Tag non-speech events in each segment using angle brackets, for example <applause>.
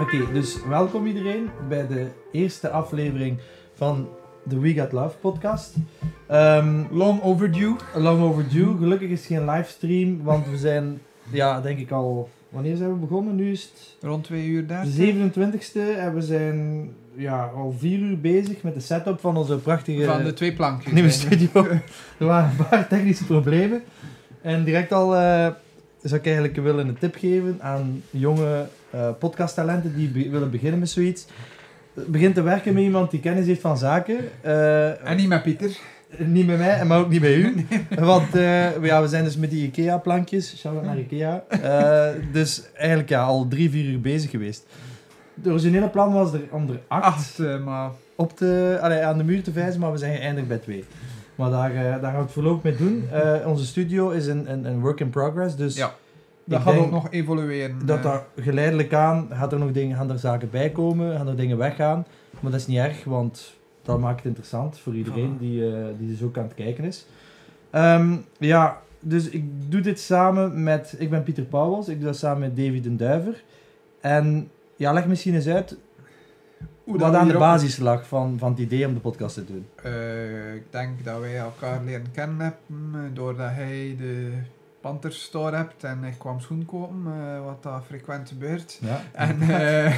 Oké, dus welkom iedereen bij de eerste aflevering van de We Got Love podcast. Ehm, Long overdue. long overdue. Gelukkig is het geen livestream, want we zijn, ja, denk ik al... Wanneer zijn we begonnen? Nu is het Rond twee uur daar. de 27e en we zijn ja, al vier uur bezig met de setup van onze prachtige... Van de twee plankjes. nieuwe eigenlijk. studio. <laughs> Er waren een paar technische problemen. En direct al eh, zou ik eigenlijk willen een tip geven aan jonge eh, podcasttalenten die be- willen beginnen met zoiets. Begin te werken met iemand die kennis heeft van zaken. Eh, En niet met Pieter. niet met mij, maar ook niet bij u. Want eh, ja, we zijn dus met die IKEA-plankjes. Shout-out naar IKEA. Eh, dus eigenlijk ja, al drie, vier uur bezig geweest. Het originele plan was er om er acht Acht, eh, maar op de, allee, aan de muur te vijzen, maar we zijn geëindigd bij twee. Maar daar, eh, daar gaan we het voorlopig mee doen. Eh, onze studio is een, een, een work in progress, dus Ja. Ik dat gaat denk ook nog evolueren. dat eh. daar geleidelijk aan gaat er nog dingen, gaan er zaken bij komen, gaan er dingen weggaan. Maar dat is niet erg, want dat maakt het interessant voor iedereen Ah. die, eh die dus ook aan het kijken is. Ehm, ja, dus ik doe dit samen met, ik ben Pieter Pauwels, ik doe dat samen met David den Duiver. En ja, leg misschien eens uit Hoe dat wat we aan de hierop- basis lag van, van het idee om de podcast te doen. Eh, ik denk dat wij elkaar leren kennen hebben eh, doordat hij de Panthers Store hebt en ik kwam schoen kopen, eh, wat daar frequent gebeurt. <laughs> Ja. En eh,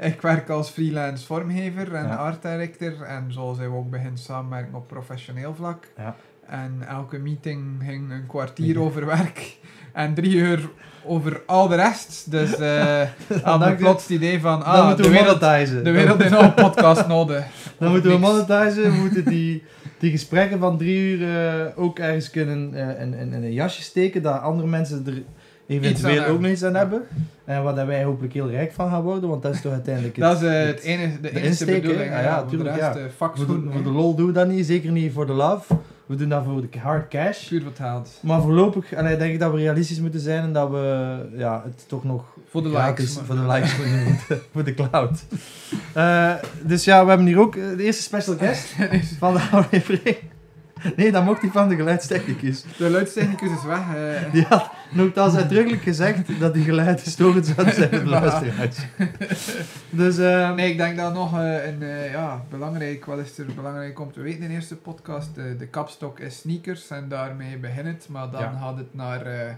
ik werk als freelance vormgever en Ja. art director en zo zijn we ook beginnen samenwerken op professioneel vlak. Ja. En elke meeting ging een kwartier over werk <laughs> en drie uur over al de rest. Dus <laughs> eh had ik dacht ik, plots het idee van, dan ah, moeten de we wereld, monetizen. de wereld is nog een podcast nodig. <laughs> Dan moeten we Niks. monetizen. We moeten <laughs> die, die gesprekken van drie uur eh, ook ergens kunnen eh in, in, in een jasje steken. Dat andere mensen er aan eventueel hebben. ook nog iets aan Ja. hebben. En waar dat wij hopelijk heel rijk van gaan worden. Want dat is toch uiteindelijk het... Dat is eh, het enige, de, enige insteek, hè? bedoeling. Ah, Ja, ja, voor tuurlijk, de rest, eh, fuck voor, de, schoen, voor de hè. lol doen we dat niet. Zeker niet voor de love. We doen dat voor de hard cash. puur wat haalt. Maar voorlopig allee, denk ik dat we realistisch moeten zijn. En dat we ja, het toch nog Voor de Gratis, likes. maar- Voor de likes, voor de, voor de- <laughs> voor de cloud. Eh, dus ja, we hebben hier ook eh, de eerste special <laughs> guest van de aflevering. Nee, dat mocht niet van de <laughs> geluidstechnicus. De luidstechnicus is weg. eh. Die had nogthans uitdrukkelijk gezegd dat die geluiden storend zouden zijn voor de <laughs> Ja. luisteraars. Dus eh, Nee, ik denk dat nog eh, een eh, ja, belangrijk, wat is er belangrijk om te weten in de eerste podcast? Eh, De, de kapstok is sneakers en daarmee begint het, maar dan Ja. gaat het naar eh,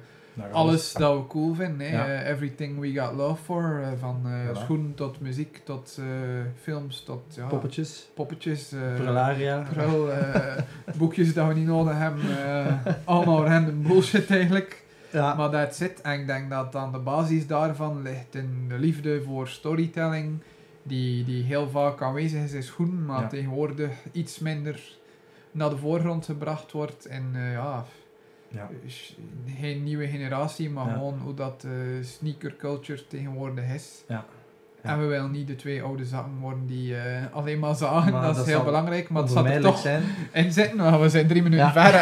alles dat we cool vinden. hè. Ja. Eh, everything we got love for, eh, van eh, Voilà. schoen tot muziek, tot eh, films, tot ja, Poppetjes, poppetjes. eh, prelaria. Vooral eh, boekjes dat we niet nodig hebben. eh, allemaal random bullshit eigenlijk. Ja, Maar dat zit. En ik denk dat dan de basis daarvan ligt in de liefde voor storytelling. Die, die heel vaak aanwezig is in schoen, maar Ja. tegenwoordig iets minder naar de voorgrond gebracht wordt. En eh, ja, ja. sh- geen nieuwe generatie, maar Ja. gewoon hoe dat eh sneaker culture tegenwoordig is. Ja. Ja. En we willen niet de twee oude zakken worden die eh, alleen maar zagen. Maar dat is dat heel zal belangrijk, maar het zat er onvermijdelijk toch zijn. in zitten, want we zijn drie minuten <laughs> Ja. <laughs> verder.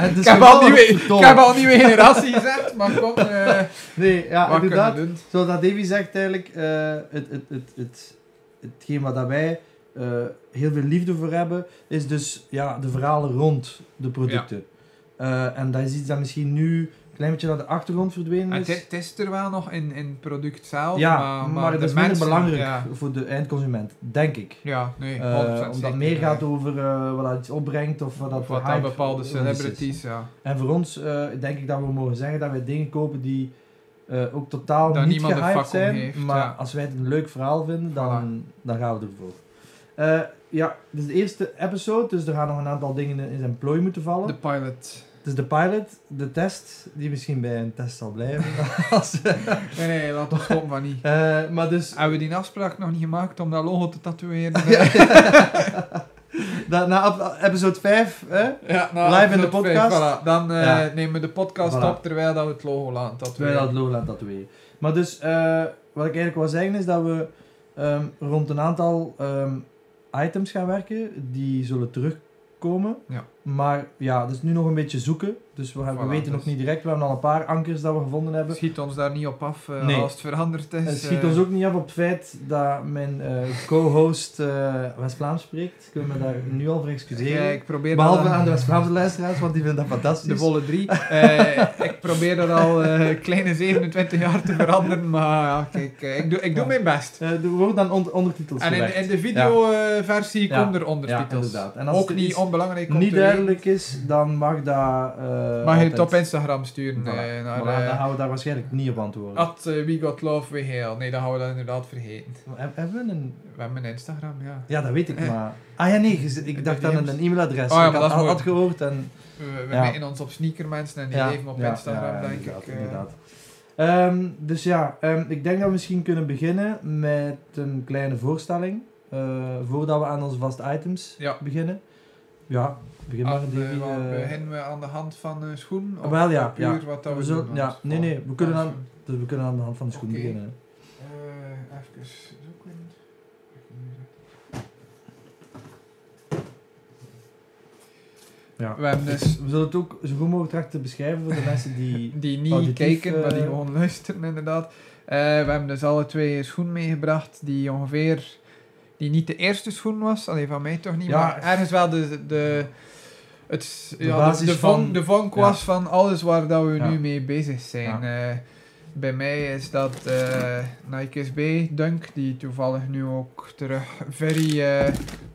Het is ik, heb al gevallen nieuwe, op de ik toon. heb al nieuwe generatie gezegd, maar kom, eh Nee, ja, wat kunnen inderdaad. we doen? Zoals dat Davy zegt eigenlijk, eh, het, het, het, het, hetgeen waar dat wij eh, heel veel liefde voor hebben, is dus ja, de verhalen rond de producten. Eh, en dat is iets dat misschien nu een klein beetje naar de achtergrond verdwenen Ah, Het, is. het is er wel nog in, in het product zelf, ja, maar, maar, maar de dat is minder mensen- belangrijk Ja, voor de eindconsument, denk ik. ja nee, Eh, 100% omdat zeker, het meer ja. gaat over eh, wat dat iets opbrengt of wat dat Of wat de dan hype bepaalde rond iets is. celebrities, ja. En voor ons eh, denk ik dat we mogen zeggen dat wij dingen kopen die eh, ook totaal Daar niet niemand een gehyped vak om zijn. heeft, maar ja. als wij het een leuk verhaal vinden, dan, dan gaan we ervoor. Eh, ja, dit is de eerste episode, dus er gaan nog een aantal dingen in zijn plooi moeten vallen. De pilot. Het is de pilot, de test, die misschien bij een test zal <laughs> blijven. <laughs> Als- Nee, nee, laat <laughs> ons stoppen van niet. eh, maar dus... <laughs> Hebben we die afspraak nog niet gemaakt om dat logo te tatoeëren? Ja. Dat- na ap- episode 5, hè? Ja, nou, Live in de episode podcast. voilà. Dan eh, Ja. nemen we de podcast Voilà. op terwijl dat we het logo laten Terwijl tatoeëren. dat Lowland dat weet. Maar dus, eh, wat ik eigenlijk wil zeggen is dat we ehm, rond een aantal ehm, items gaan werken die zullen terugkomen. Ja. Maar ja, dat is nu nog een beetje zoeken. Dus we, hebben- we Voilà, weten dus- nog niet direct. We hebben al een paar ankers dat we gevonden hebben. Schiet ons daar niet op af eh, Nee. als het veranderd is. Het schiet eh, ons ook niet af op het feit dat mijn eh, co-host eh, West-Vlaams spreekt. Kunnen we daar nu al voor ja, excuseren? ik probeer Behalve dat, eh, aan <laughs> de West-Vlaamse luisteraars, want die vinden dat de fantastisch. volle <laughs> drie. Eh, ik probeer dat al eh, kleine 27 jaar te veranderen, maar ja, kijk, eh, ik doe, ik doe Ja. mijn best. Eh, er worden dan on- ondertitels En in, gewerkt. in de videoversie Ja. komen er Ja, ondertitels. inderdaad. En als ook er niet iets onbelangrijk om niet te weten, duidelijk is, dan mag dat... eh, Mag je het altijd. op Instagram sturen Voilà. eh, Maar naar dan- dan eh, gaan we daar waarschijnlijk niet op antwoorden. at eh, we got love we hail. Nee, dan gaan we dat inderdaad vergeten. Heb- Hebben we een... We hebben een Instagram, ja. Ja, dat weet ik, Eh. maar... Ah ja, nee, je- ik dacht aan een DM's. e-mailadres. Oh ja, ik had, maar dat is had mooi. gehoord en... We, we Ja. meten ons op sneakermensen en die leven op Instagram, denk inderdaad, ik. eh. Inderdaad. Ehm, dus ja, ehm, ik denk dat we misschien kunnen beginnen met een kleine voorstelling. eh, voordat we aan onze vaste items Ja. beginnen. Ja, begin maar. Aan de- Davy, wat eh. beginnen we aan de hand van eh schoen? Of Wel, ja, puur ja. wat dat we, We zullen- doen? ja, Want- nee, nee, we van- kunnen van dan- schoen. Dus we kunnen aan de hand van de schoen Oké. beginnen. Eh, even zoeken. Ja. We hebben dus We zullen het ook zo goed mogelijk trachten te beschrijven voor de mensen <laughs> die... Oh, die niet auditief, kijken, maar die eh, gewoon luisteren inderdaad. Eh, we hebben dus alle twee een schoen meegebracht die ongeveer... Die niet de eerste schoen was, alleen van mij toch niet, Ja. maar ergens wel de... de het, De ja, de- basis de, vonk, van- de vonk ja. was van alles waar dat we Ja. nu mee bezig zijn. Eh, bij mij is dat eh Nike SB Dunk, die toevallig nu ook terug very eh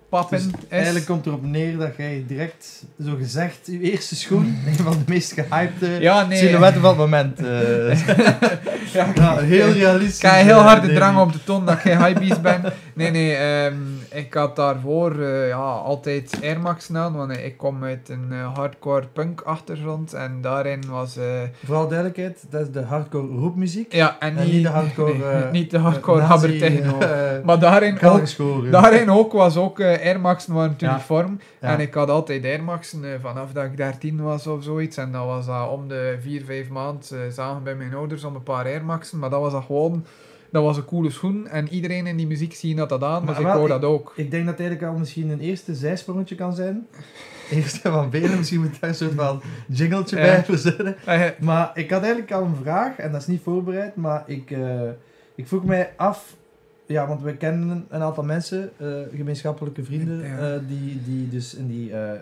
pappen Dus is. <laughs> Eigenlijk komt erop neer dat jij direct, zo gezegd, je eerste <laughs> schoen, een van de meest gehypte ja, nee. silhouetten van het moment. <laughs> eh, Ja, ja, heel realistisch. Ik heb heel eh, hard de Davy. drang op de ton dat ik geen highbeast ben. <laughs> Nee, nee, ehm, ik had daarvoor eh, ja, altijd Air Max aan, want ik kom uit een eh, hardcore punk achtergrond en daarin was... eh, Vooral duidelijkheid, dat is de hardcore roepmuziek. ja, en En, niet, niet de hardcore... eh, niet de hardcore nazi, habertechno. eh, Maar daarin kal ook, geschoren. daarin ook was ook eh Air Max maar een Ja. uniform. Ja. En ik had altijd Air Max'en eh, vanaf dat ik 13 was of zoiets. En dat was dat om de 4, 5 maanden eh, zagen bij mijn ouders om een paar Air Max'en. Maar dat was dat gewoon... Dat was een coole schoen. En iedereen in die muziek zien dat dat aan. Maar Dus ik wel, wou ik- dat ook. Ik denk dat het eigenlijk al misschien een eerste zijsprongetje kan zijn. <laughs> Eerste van velen, misschien moet daar een soort van jingletje Ja. bij verzinnen. Eh, Maar ik had eigenlijk al een vraag, en dat is niet voorbereid, maar ik, eh, ik vroeg mij af... Ja, want we kennen een aantal mensen, eh, gemeenschappelijke vrienden, Ja. eh, die, die dus in die eh, eh,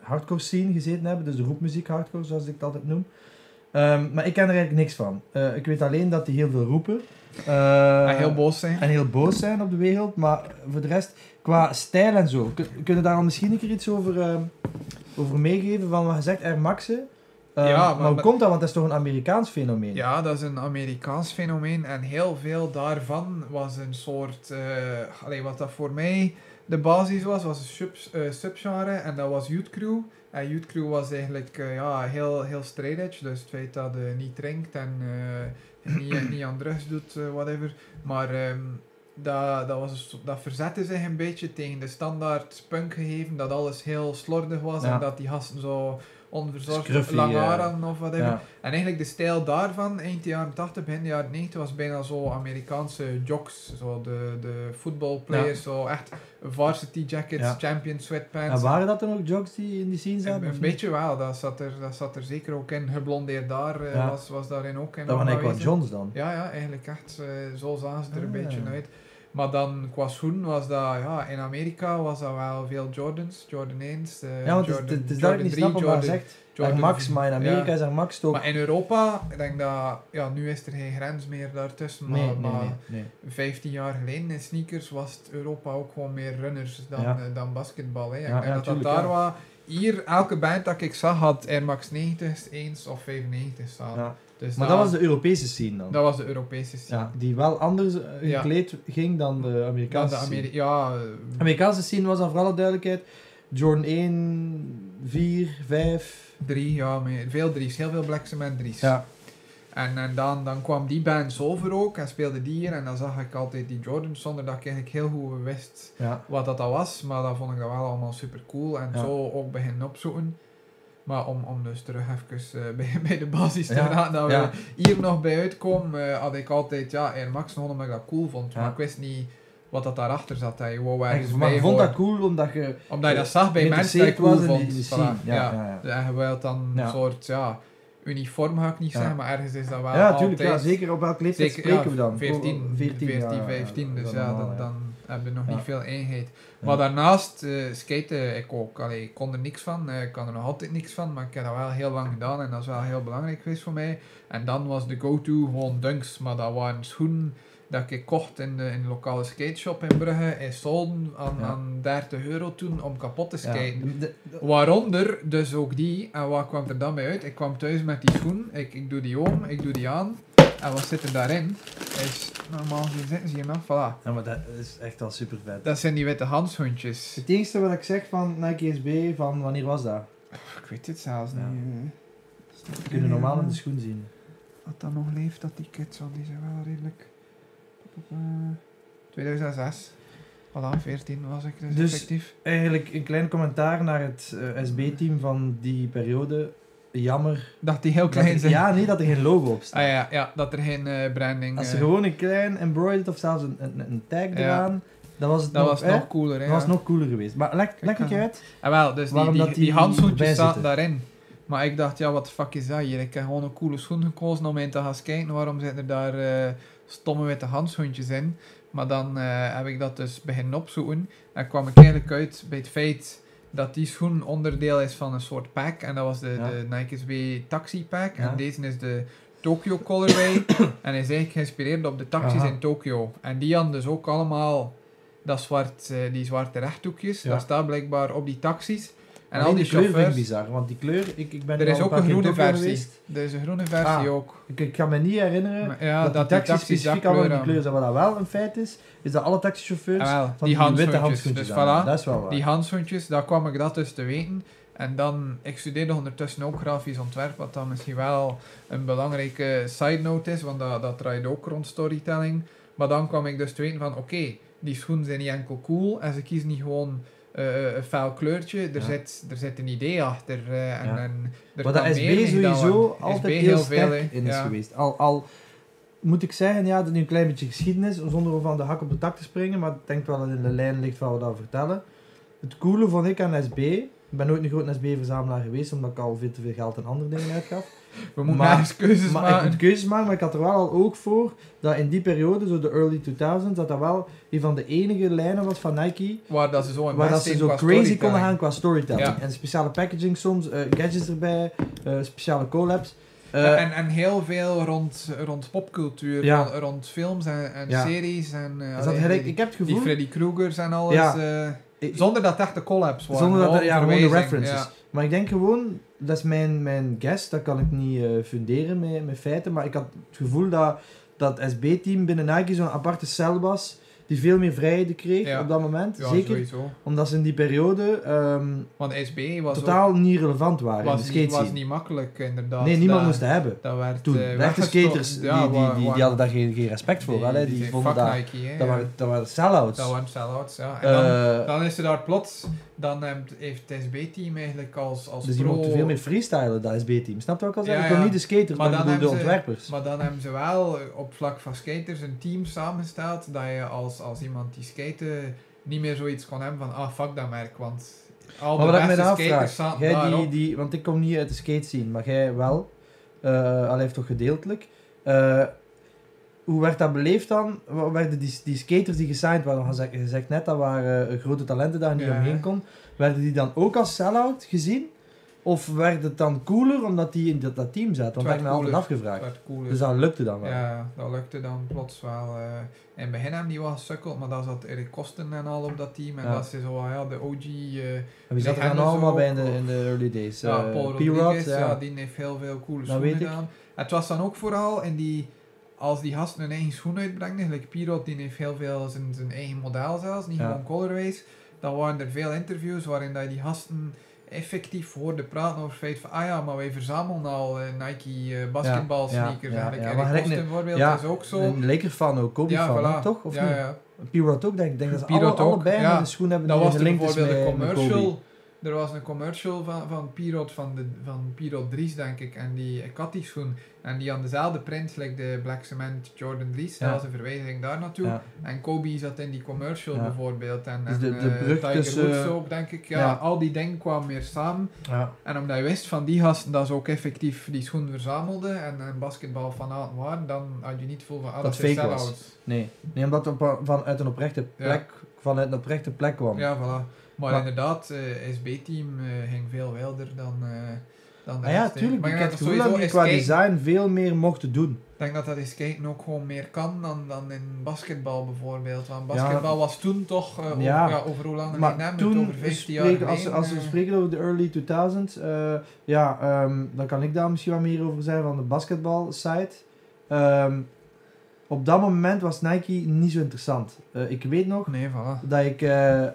hardcore scene gezeten hebben. Dus de roepmuziek hardcore, zoals ik het altijd noem. Ehm, maar ik ken er eigenlijk niks van. Eh, ik weet alleen dat die heel veel roepen. Eh, en Ah, heel boos zijn. en heel boos zijn op de wereld. Maar voor de rest, qua stijl en zo, kun- kunnen daar al misschien een keer iets over, ehm, over meegeven? Van wat gezegd, Air Maxen. Ehm, Ja, maar- maar, hoe maar- komt dat? Want dat is toch een Amerikaans fenomeen? Ja, dat is een Amerikaans fenomeen. En heel veel daarvan was een soort... eh allee, wat dat voor mij de basis was, was een sub, eh, subgenre. En dat was Youth Crew. En Youth Crew was eigenlijk eh, ja, heel, heel straight edge. Dus het feit dat je niet drinkt en eh, niet, niet aan drugs doet, eh, whatever. Maar ehm, dat, dat, was een soort- dat verzette zich een beetje tegen de standaard punkgegeven. Dat alles heel slordig was Ja. en dat die gasten zo onverzorgd Scruffy, lang eh, haar hadden of whatever. Ja. En eigenlijk de stijl daarvan, eind de jaren 80, begin de jaren 90, was bijna zo Amerikaanse jocks. Zo de, de voetbalplayers, zo echt varsity jackets, Ja. champion sweatpants. En waren dat dan ook jokes die in die scene een, zaten? een of niet? beetje wel, dat zat, er, dat zat er zeker ook in. Geblondeerd daar eh, Ja. was, was daarin ook in. Dat waren eigenlijk wat Johns aanwezig. dan. Ja, ja, eigenlijk echt. eh, zo zagen ze er een Ah. beetje uit. Maar dan qua schoen was dat, ja, in Amerika was dat wel veel Jordans, Jordan 1, eh Ja, want het Jordan, is- het is Jordan duidelijk niet 3, snappen wat Jordan, je zegt. Air Jordan Max, 4. maar in Amerika Ja. is Air Max toch... Maar in Europa, ik denk dat, ja, nu is er geen grens meer daartussen, maar, nee, nee, maar nee, nee. 15 jaar geleden in sneakers was het Europa ook gewoon meer runners dan, Ja. eh, dan basketbal. Hè. Ik Ja, denk ja, dat dat tuurlijk, daar ja. was. Hier, elke band dat ik zag had Air Max 90 eens of 95 staan. Ja. Dus Maar dat was de Europese scene dan. dat was de Europese scene. Ja, die wel anders eh, Ja. gekleed ging dan de Dan Amerikaanse de scene. Ameri ja, eh, Amerikaanse scene was dan voor alle duidelijkheid Jordan 1, 4, 5. drie, ja, meer- veel drie's. Heel veel Black Cement drie's. Ja, En, en dan, dan kwam die band over ook en speelde die hier. En dan zag ik altijd die Jordans zonder dat ik eigenlijk heel goed wist ja. wat dat, dat was, maar dat vond ik dat wel allemaal super cool en Ja. zo ook beginnen opzoeken. Maar om, om dus terug even eh, <laughs> bij, bij de basis te Ja, gaan, dat ja. eh, we hier nog bij uitkomen, eh, had ik altijd ja, Air Max nog omdat ik dat cool vond. Ja. Maar ik wist niet wat dat daarachter zat. Hè. Je wou En ergens je- maar bij je vond dat horen. cool omdat je Omdat je dat zag bij mensen dat geïnteresseerd je cool was in die- vond. die Voilà, scene. Ja, ja. ja, ja. En je wilt dan Ja. een soort ja, uniform, ga ik niet Ja. zeggen, maar ergens is dat wel Ja, tuurlijk. Ja, altijd- zeker op welke leeftijd Zeker, spreken ja, we dan? 14, 14, 15, dus ja, dan dan, dan heb je nog Ja. niet veel eenheid. Ja. Maar daarnaast eh skaten ik ook. Allee, ik kon er niks van, eh, ik kan er nog altijd niks van, maar ik heb dat wel heel lang gedaan en dat is wel heel belangrijk geweest voor mij. En dan was de go-to gewoon dunks, maar dat waren schoenen dat ik kocht in de, in de lokale skateshop in Brugge, in Solden, aan, Ja. aan 30 euro toen om kapot te skaten. de- de- de- Waaronder dus ook die. En wat kwam er dan bij uit? Ik kwam thuis met die schoen. Ik, ik doe die om, ik doe die aan. En wat zit er daarin? Is normaal gezien zitten ze hier nog. Voilà. Ja, maar dat is echt wel super vet. Dat zijn die witte handschoentjes. Het enige wat ik zeg van Nike SB, van wanneer was dat? Ik weet het zelfs Ja. niet. hè. We kunnen normaal in de schoen zien. Wat dan nog leeft, dat die kids, want die zijn wel redelijk... 2006. Voilà, 14 was ik dus, Dus- effectief. Eigenlijk een klein commentaar naar het SB-team van die periode. Jammer. Dat die heel dat klein er, zijn. ja, nee, dat er geen logo op staat. Ah ja, ja, dat er geen eh, branding... Als eh, er gewoon een klein embroidered of zelfs een, een, een tag eraan, dan was het dat nog, was hè? nog cooler, hè. Dat was ja. nog cooler geweest. Maar lek, lek ik aan. uit. Ah, wel, dus die, Waarom die, dat die die handschoentjes erbij zaten zitten? daarin. Maar ik dacht, ja, wat de fuck is dat hier? Ik heb gewoon een coole schoen gekozen om in te gaan kijken. Waarom zitten er daar eh, stomme witte handschoentjes in? Maar dan eh, heb ik dat dus beginnen opzoeken. En kwam ik eigenlijk uit bij het feit dat die schoen onderdeel is van een soort pack. En dat was de, Ja. de Nike SB Taxi Pack. Ja. En deze is de Tokyo <coughs> Colorway. en is eigenlijk geïnspireerd op de taxis Aha. in Tokyo. En die hadden dus ook allemaal dat zwart, eh, die zwarte rechthoekjes. Ja. Dat staat blijkbaar op die taxis. En al Alleen die kleur vind ik chauffeurs. bizar, want die kleur, ik, ik ben Er is al ook paar een keer in groene Tokio versie. geweest. Er is een groene versie Ah. ook. Ik, ik kan me niet herinneren Maar ja, dat, dat die taxi specifiek allemaal die kleur kleur zijn. Wat dat wel een feit is, is dat alle taxichauffeurs Ah, wel, van die die, witte handschoentjes. handschoentjes aan Dus hebben. voilà, Dat is wel waar. die handschoentjes, daar kwam ik dat dus te weten. En dan, ik studeerde ondertussen ook grafisch ontwerp, wat dan misschien wel een belangrijke side note is, want dat, dat draait ook rond storytelling. Maar dan kwam ik dus te weten van, oké, die schoenen zijn niet enkel cool en ze kiezen niet gewoon eh, een fel kleurtje. Er, Ja. zit, er zit een idee achter. eh, en, Ja. en er Wat dat kan meer SB mee gedaan sowieso worden. altijd SB heel veel, sterk hè. in is Ja. geweest. Al, al moet ik zeggen, ja, dat is nu een klein beetje geschiedenis, zonder om van de hak op de tak te springen, maar ik denk wel dat het in de lijn ligt wat we dan vertellen. Het coole vond ik aan SB, ik ben nooit een groot SB-verzamelaar geweest, omdat ik al veel te veel geld aan andere dingen uitgaf. We moeten Maar- maar, eens <laughs> keuzes Maar ik maken. moet keuzes maken, maar ik had er wel al ook voor dat in die periode, zo de early 2000s, dat dat wel een van de enige lijnen was van Nike Waar dat ze zo in waar dat best ze zijn zo qua crazy konden storytelling. gaan qua storytelling. Ja. En speciale packaging soms, eh, gadgets erbij, eh, speciale collabs. Eh, Ja, en, en heel veel rond, rond popcultuur, Ja. rond, rond films en, en Ja. series en eh, is dat allee, gelijk- die, ik heb het die gevoel, Freddy Krueger's en alles. Ja. eh, ik- zonder dat het echt de collabs waren. zonder dat er ja, gewoon de verwijzing, references. ja. Maar ik denk gewoon, dat is mijn, mijn guess, dat kan ik niet eh, funderen met, met feiten, maar ik had het gevoel dat dat SB-team binnen Nike zo'n aparte cel was, die veel meer vrijheden kreeg Ja. op dat moment. Ja, Zeker sowieso. Omdat ze in die periode ehm, Want SB was, ook, totaal niet relevant waren in de was, niet, skate was scene. niet makkelijk, inderdaad. Nee, niemand dat, moest het hebben. Dat werd Toen, eh, de echte weggestopt. skaters, Ja, die, die, waar- die, waar- die hadden daar geen, geen respect voor. wel, hè. Die, die vonden fuck dat, Nike, hè, dat, ja. waren, dat waren sell-outs. Dat waren sell-outs, ja. En Eh, dan, dan is er daar plots... Dan heeft heeft het SB-team eigenlijk als, als dus die pro... mochten veel meer freestylen, dat SB-team. Snap je wat ik al Ja, zeg? Ik ja. wil niet de skaters, Maar maar, ik dan bedoel de hebben ze- ontwerpers. Maar dan hebben ze wel eh, op vlak van skaters een team samengesteld dat je als, als iemand die skate niet meer zoiets kon hebben van ah fuck dat merk, want al Maar de wat ik beste me dan skaters afvraag, zaten jij die, daarop. die, want ik kom niet uit de skate scene, maar jij wel, Eh al heeft toch gedeeltelijk. Eh, hoe werd dat beleefd dan? Wat werden die, die skaters die gesigned waren, want je zegt- je zegt net dat waren eh, grote talenten daar niet Ja. omheen kon, werden die dan ook als sell-out gezien? Of werd het dan cooler omdat die in dat, dat team zaten? Want dat heb werd ik me altijd cooler. afgevraagd. werd cooler. Dus dat lukte dan wel. ja, dat lukte dan plots wel. eh. in het begin hebben die wel gesukkeld, maar daar zat Erik Kosten en al op dat team. En Ja. dat is zo wel, ja, de OG, eh en wie dat zat er dan hebben ze allemaal bij in ook, de, of- in de early days? ja, Eh, Paul P-Rod, Rodriguez, ja. ja. die heeft heel veel coole Dat schoenen weet ik. gedaan. Het was dan ook vooral in die, als die gasten hun eigen schoen uitbrengen, gelijk Pirot, die heeft heel veel zijn, zijn eigen model zelfs, niet Ja. gewoon colorways, dan waren er veel interviews waarin dat je die gasten effectief hoorde praten over het feit van, ah ja, maar wij verzamelen al eh, Nike eh basketbal Ja, ja, sneakers. ja, eigenlijk. ja, en maar gelijk Erik Kosten ne- bijvoorbeeld ja, is ook zo. Een Laker-fan ook, Kobe-fan, ja, hè, voilà. toch? Of ja, niet? ja. Pirot ook, denk ik. denk dat ze Pirot alle, ook, allebei ja. in de schoen hebben Dat die was een toen link is bijvoorbeeld de met- met Kobe. commercial Er was een commercial van, van Pirot, van, de, van Pirot Dries, denk ik, en die eh, Katischoen. En die had dezelfde print, like de Black Cement Jordan Dries. Ja. Dat was een verwijzing daar naartoe. Ja. En Kobe zat in die commercial Ja. bijvoorbeeld. En, Dus en, de- de eh, brug Tiger tussen- Woods ook, denk ik. Ja, Ja. Al die dingen kwamen weer samen. Ja. En omdat je wist van die gasten dat ze ook effectief die schoen verzamelden en een basketbal fanaten waren, dan had je niet veel van ah, Dat dat zijn fake was. sell-outs. Nee. nee, omdat het op- vanuit een oprechte plek, vanuit een oprechte plek kwam. Ja, voilà. Maar, Maar- inderdaad, eh SB-team eh, ging veel wilder dan, eh dan de Ah ja, rest, hè. tuurlijk. Maar ik ik heb het denk dat gevoel dat sowieso die is qua kijken- design veel meer mochten doen. ik denk dat dat is skaten ook gewoon meer kan dan, dan in basketbal bijvoorbeeld. Want Ja. basketbal was toen toch, eh, over, Ja. ja. over hoe lang geleden Maar hebben we het? toen, over 15 jaar spreken, als, geleden, als we eh. spreken over de early 2000s, eh, ja, ehm, dan kan ik daar misschien wat meer over zeggen van de basketbal site. Ehm, op dat moment was Nike niet zo interessant. Eh, ik weet nog Nee, voilà. dat ik, eh, eh,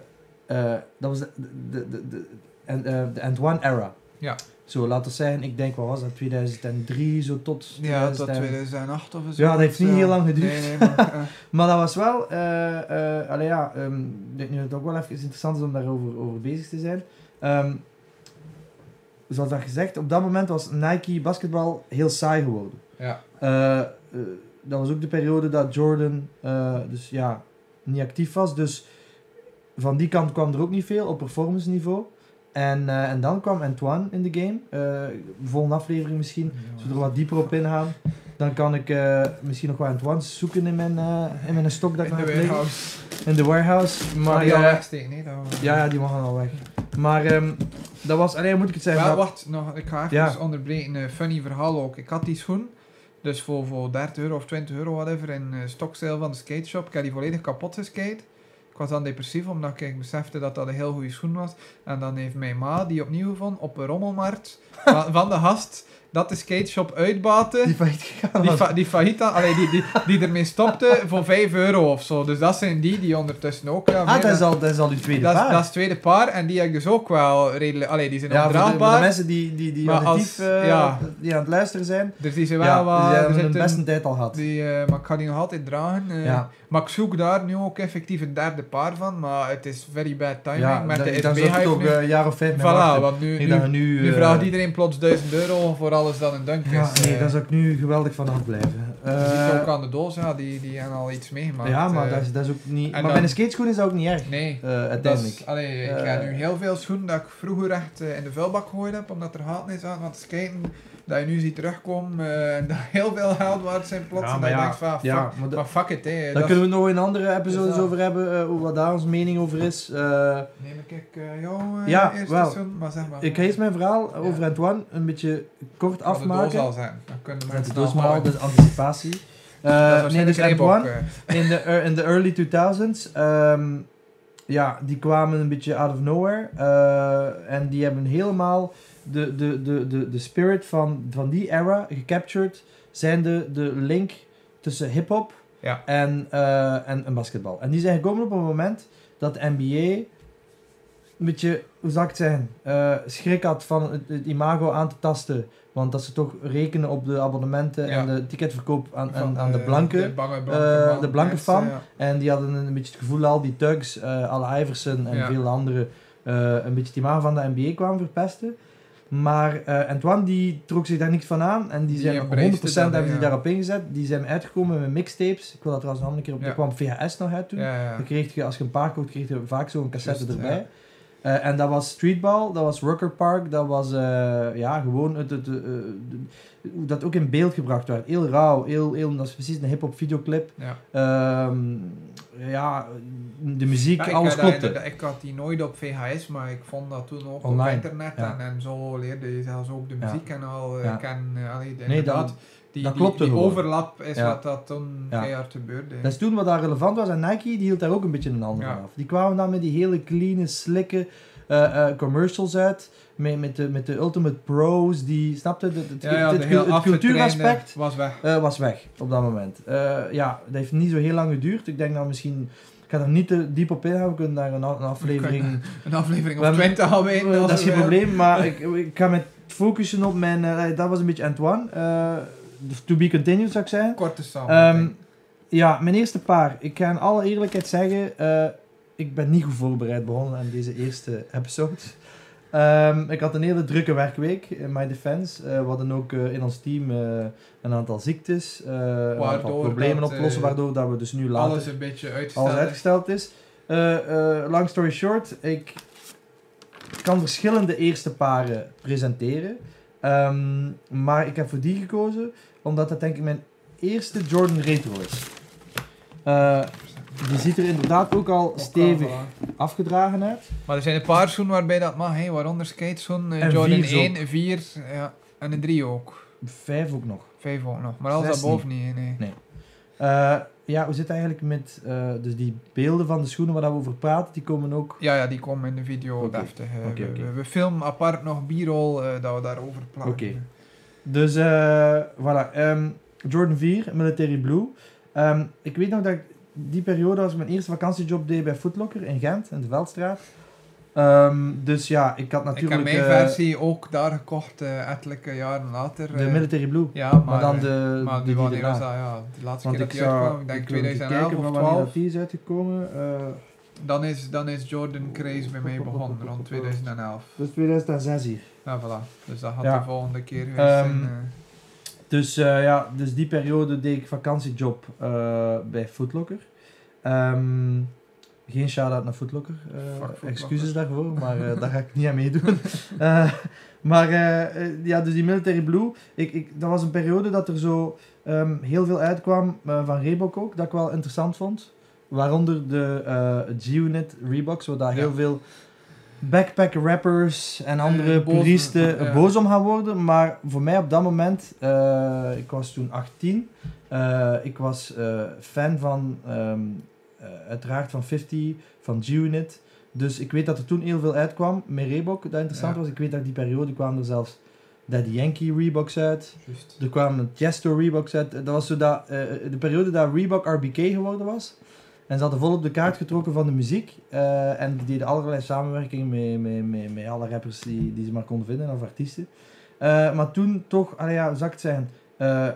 dat was de, de, de, de, en, eh, de Antoine era. Ja. Zo, laten we zeggen, ik denk, wat was dat, 2003, zo tot... Ja, tot 2000 en- 2008 of zo. dus Ja, dat heeft niet Ja. heel lang geduurd. Nee, nee, maar, <laughs> eh, Maar dat was wel, eh eh allee, ja, ehm, ik denk nu dat het ook wel even interessant is om daarover over bezig te zijn. Ehm, zoals dat gezegd, op dat moment was Nike basketbal heel saai geworden. ja. Eh, eh, dat was ook de periode dat Jordan eh, dus, ja, niet actief was. Dus van die kant kwam er ook niet veel op performance niveau. En, eh, en dan kwam Antoine in de game. Eh, volgende aflevering misschien. Als we er wat dieper op ingaan, dan kan ik eh, misschien nog wat Antoine zoeken in mijn, eh, in mijn stok dat ik In de nog heb liggen. warehouse. In de warehouse. Maar, Maar ja, eh, wegsteken, nee, dat we- ja, ja, die mag al weg. Maar ehm, dat was, alleen moet ik het zeggen. Wel, dat- wacht, nog, ik ga even Ja. onderbreken. Een funny verhaal ook. Ik had die schoen, dus voor, voor 30 euro of 20 euro, whatever, in eh stokseil van de skate shop. Ik had die volledig kapot geskate. Ik was dan depressief, omdat ik besefte dat dat een heel goede schoen was. En dan heeft mijn ma, die opnieuw vond, op een rommelmarkt <laughs> van, van de gast, dat de skate shop uitbaten. die failliet gegaan Ah, Die, was. fa die fajita, allee, die, die, die ermee stopte voor 5 euro of zo. Dus dat zijn die die ondertussen ook. Ja, meer Ah, dat is al, dat is al die tweede dat, is- paar. dat is het tweede paar en die heb ik dus ook wel redelijk. Allee, die zijn ja, voor de, voor de ondraagbaar. mensen die, die, die, Maar auditief, als- eh, ja. die aan het luisteren zijn, Dus die zijn wel ja, wat. die er hebben hun zitten- beste tijd al gehad. die, eh, maar ik ga die nog altijd dragen. eh. Ja. Maar ik zoek daar nu ook effectief een derde paar van. Maar het is very bad timing ja, met de daar- daar zou ik SB-hype toch nu. eh, een jaar of vijf mee voilà, wachten. want nu, Ik nu, denk dat we nu, nu eh, vraagt iedereen plots 1000 euro voor alles dat een dunk is. Ja, nee, eh. daar zou ik nu geweldig van afblijven. Je ziet Eh, ook aan de doos, ja, die, die hebben al iets meegemaakt. ja, maar eh. dat, is, dat is ook niet... Maar dan- bij een skateschoen is dat ook niet erg, Nee. eh, Dat uiteindelijk. is, allee, ik ga Eh. nu heel veel schoenen dat ik vroeger echt eh, in de vuilbak gegooid heb, omdat er haat is aan. Want skaten, dat je nu ziet terugkomen, eh, en dat heel veel geld waard zijn plots. Ja, en maar dat je ja, denkt van, ah, fuck, ja, maar dat- maar fuck it, hé. Daar Dat kunnen we het nog in andere is episodes dat- over hebben, eh, hoe wat daar onze mening over is. Eh, Neem ik eh jou eh Ja, eerst wel. eens doen? maar zeg maar. ik ga eerst mijn verhaal over Ja. Antoine een beetje kort Van De doos afmaken. al zijn. Dan kunnen Dat is mensen dus nog maar al houden. de anticipatie. Eh, Dat is nee, dus waarschijnlijk een Antoine, reebok, in de, eh, in de early 2000s, ehm, ja, die kwamen een beetje out of nowhere. eh, en die hebben helemaal de, de, de, de, de spirit van, van die era gecaptured. Zijn de, de link tussen hip-hop Ja. en, eh, en, en basketbal. En die zijn gekomen op een moment dat de NBA een beetje, hoe zou ik het zeggen, eh, schrik had van het, het imago aan te tasten. Want dat ze toch rekenen op de abonnementen en Ja. de ticketverkoop aan, eh, aan, van, aan de eh, blanken. De bange eh, blanke de blanke mensen, fan. ja. En die hadden een beetje het gevoel al die thugs, eh alle Iverson en Ja. veel anderen, eh, een beetje die maan van de NBA kwamen verpesten. Maar eh, Antoine die trok zich daar niks van aan en die Die zijn 100% embraced het dan, hebben die ja. daarop ingezet. Die zijn uitgekomen met mixtapes. Ik wil dat trouwens nog een keer op. Ja. Er kwam VHS nog uit toen. Ja, ja. Dan kreeg je, als je een paar kocht, kreeg je vaak zo'n cassette Juist, erbij. Eh, en dat was Streetball, dat was Rocker Park, dat was eh, ja, gewoon het, het, eh, de- hoe dat ook in beeld gebracht werd. Heel rauw, heel, heel, dat is precies een hip-hop videoclip. Ja. Ehm, ja, de muziek, Ja, ik alles had dat klopte. inderdaad- eh, Ik had die nooit op VHS, maar ik vond dat toen ook Online, op internet. ja. En, en zo leerde je zelfs ook de Ja. muziek en al. eh, Ja. Ken, eh, allee, de- Nee, inderdaad, dat- die, dat die- klopte die, gewoon. overlap is Ja. wat dat toen Ja. keihard gebeurde. Dat is toen wat daar relevant was. En Nike die hield daar ook een beetje een hand Ja. van af. Die kwamen dan met die hele clean, slikke eh, eh, commercials uit. Met, met, de, met de Ultimate Pros. Die, snapte, het, het, Ja, ja, het- de het- heel het cultuuraspect. afgetrainde was weg. Eh, was weg op dat moment. Eh, ja, dat heeft niet zo heel lang geduurd. Ik denk dat misschien. Ik ga er niet te diep op ingaan. We kunnen daar een, a- een aflevering. <laughs> Een <laughs> aflevering We of hebben- 20 alweer. Eh, dat als is geen we- probleem, maar ik, ik ga me focussen op mijn. eh, dat was een beetje Antoine. eh, to be continued zou ik zeggen. Korte song. Ehm, ja, mijn eerste paar. Ik ga in alle eerlijkheid zeggen, eh, ik ben niet goed voorbereid begonnen aan deze eerste episode. Ehm, ik had een hele drukke werkweek, in my defense. Eh, we hadden ook eh, in ons team eh, een aantal ziektes, eh, een aantal Waardoor problemen dat, oplossen, eh, waardoor dat we dus nu later Alles een beetje uitgesteld. alles is. uitgesteld is. Eh, eh, long story short, ik kan verschillende eerste paren presenteren. Ehm, maar ik heb voor die gekozen, omdat dat denk ik mijn eerste Jordan Retro is. Eh, die ziet er inderdaad ook al Ook stevig wel, voilà. afgedragen uit. Maar er zijn een paar schoenen waarbij dat mag, hè, waaronder skateschoen, eh, En Jordan vier zo. 1, 4 ja, en een 3 ook. Vijf ook nog. Vijf ook nog, maar alles Zes daarboven niet. hè, nee. Eh, ja, hoe zit het eigenlijk met eh, dus die beelden van de schoenen waar we over praten? Die komen ook. Ja, ja, die komen in de video Oké. deftig. eh, Oké, we- oké. We, we filmen apart nog b-roll eh, dat we daarover plaatsen. Oké. Dus eh voilà. ehm, Jordan 4, Military Blue. Ehm, ik weet nog dat ik die periode als ik mijn eerste vakantiejob deed bij Footlocker in Gent, in de Veldstraat. Ehm, dus ja, ik had Ik natuurlijk heb mijn eh, versie ook daar gekocht, eh ettelijke jaren later. de eh. Military Blue. ja, Maar, maar, dan eh, de. maar die die die wanneer was daarna. dat? Ja, de laatste Want keer ik dat die zou- uitkwam, ik denk wil even 2011 kijken of van wanneer 12. dat die is uitgekomen. eh Dan is, dan is Jordan Craze bij mij begonnen rond 2011. dat is 2006 dus hier. Ja, voilà. Dus dat gaat Ja. de volgende keer weer Ehm, zijn. eh. Dus eh, ja, dus die periode deed ik vakantiejob eh, bij Footlocker. Ehm, geen shout-out naar Footlocker. eh, Footlocker. excuses daarvoor, maar eh, daar ga ik niet aan meedoen. <laughs> Eh, maar eh, eh, ja, dus die Military Blue. Ik, ik, dat was een periode dat er zo ehm, heel veel uitkwam eh, van Reebok ook, dat ik wel interessant vond. Waaronder de eh, G-Unit Reeboks, waar daar Ja. heel veel backpack rappers en andere Eh, boos- puristen ja. boos om gaan worden. Maar voor mij op dat moment, eh, ik was toen 18, eh, ik was eh, fan van, ehm, eh, uiteraard van 50, van G-Unit. Dus ik weet dat er toen heel veel uitkwam met Reebok, dat interessant Ja. was. Ik weet dat die periode kwamen er zelfs Daddy Yankee Reeboks uit. Juist. Er kwamen een Chesto Reeboks uit. Dat was zo dat, eh, de periode dat Reebok RBK geworden was. En ze hadden volop de kaart getrokken van de muziek. eh, en die deden allerlei samenwerkingen met, met, met, met alle rappers die, die ze maar konden vinden, of artiesten. Eh, maar toen toch, ah ja, zakt zijn, eh,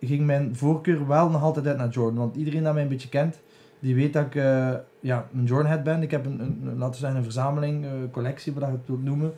ging mijn voorkeur wel nog altijd uit naar Jordan. Want iedereen dat mij een beetje kent, die weet dat ik eh, ja, een Jordan-head ben. Ik heb een, een, een, laten we zeggen, een verzameling, eh, collectie, wat je het wilt noemen.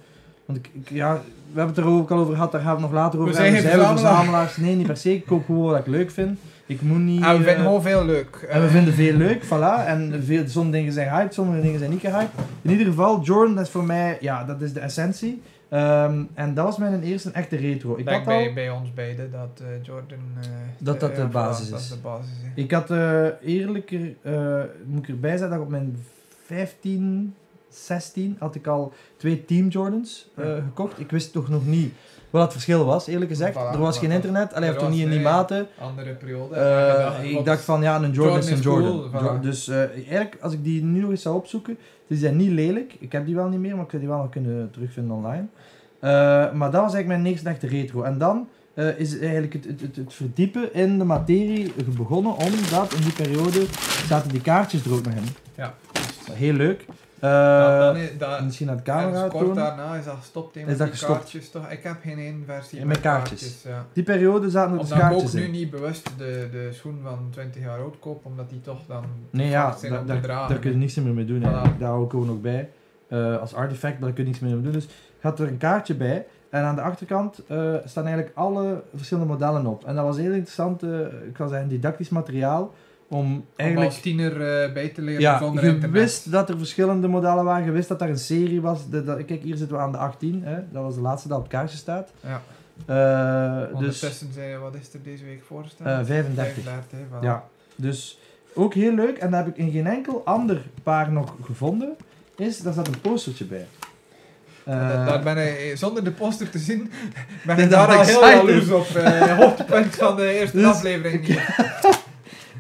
Want ik, ik- ja, we hebben het er ook al over gehad, daar gaan we het nog later over We zijn geen we verzamelaar. verzamelaars? Nee, niet per se. Ik koop gewoon wat ik leuk vind. Ik moet niet... En Ah, we vinden eh, gewoon veel leuk. eh, en we vinden veel leuk, voilà. En veel, sommige dingen zijn hype, sommige dingen zijn niet gehyped. In ieder geval, Jordan, dat is voor mij, ja, dat is de essentie. Ehm, en dat was mijn eerste echte retro. Ik Ik denk had bij, al... bij ons beiden dat eh, Jordan... eh, Dat dat de ja, voilà, basis Dat is. de basis is. Ik had eh, eerlijker, eh, moet ik erbij zeggen, dat ik op mijn 15, 16 had ik al twee Team Jordans eh, Ja. gekocht. Ik wist toch nog niet wat het verschil was, eerlijk gezegd. Voilà, er was voilà. geen internet, alleen Er toch was- niet in die nee. mate. Andere periode. Eh, En dan- ik want- dacht van ja, een Jordan, Jordan is een is Jordan. cool, Jo- voilà. dus eh, eigenlijk, als ik die nu nog eens zou opzoeken, die zijn niet lelijk. Ik heb die wel niet meer, maar ik zou die wel nog kunnen terugvinden online. Eh, maar dat was eigenlijk mijn eerste echte retro. En dan eh, is eigenlijk het, het, het, het verdiepen in de materie begonnen, omdat in die periode zaten die kaartjes er ook nog in. Ja, Heel leuk. Eh, Dan- dan is- dan- misschien aan de ergens camera kort tonen. daarna is dat gestopt hè, Is met dat die gestopt? kaartjes toch. Ik heb geen één versie En met kaartjes. ja. Die periode zaten er dus Omdat ik ook kaartjes nu in. niet bewust de, de schoen van 20 jaar oud koop, omdat die toch dan Nee, ja, vaak zijn daar, om daar, te dragen. daar kun je niks meer mee doen. Ah. Voilà. eigenlijk. Daar hou ik gewoon ook bij. Eh, als artefact, daar kun je niks meer mee doen. Dus gaat er een kaartje bij. En aan de achterkant eh, staan eigenlijk alle verschillende modellen op. En dat was heel interessant, eh, ik kan zeggen, didactisch materiaal. Om Om eigenlijk als tiener eh, bij te leren ja, zonder je internet. wist dat er verschillende modellen waren, je wist dat daar een serie was. De- dat- kijk, hier zitten we aan de 18, hè? dat was de laatste dat op het kaartje staat. Ja. Eh, dus Ondertussen zijn we- wat is er deze week eh, voorstaan? 35. 35, voilà. Ja, dus ook heel leuk. En dat heb ik in geen enkel ander paar nog gevonden. Is, daar zat een postertje bij. Da- Eh, daar ben ik, eh, zonder de poster te zien, <laughs> ben ben ik daar al al heel excited. jaloers op. eh <laughs> hoogtepunt van de eerste Dus- aflevering. hier.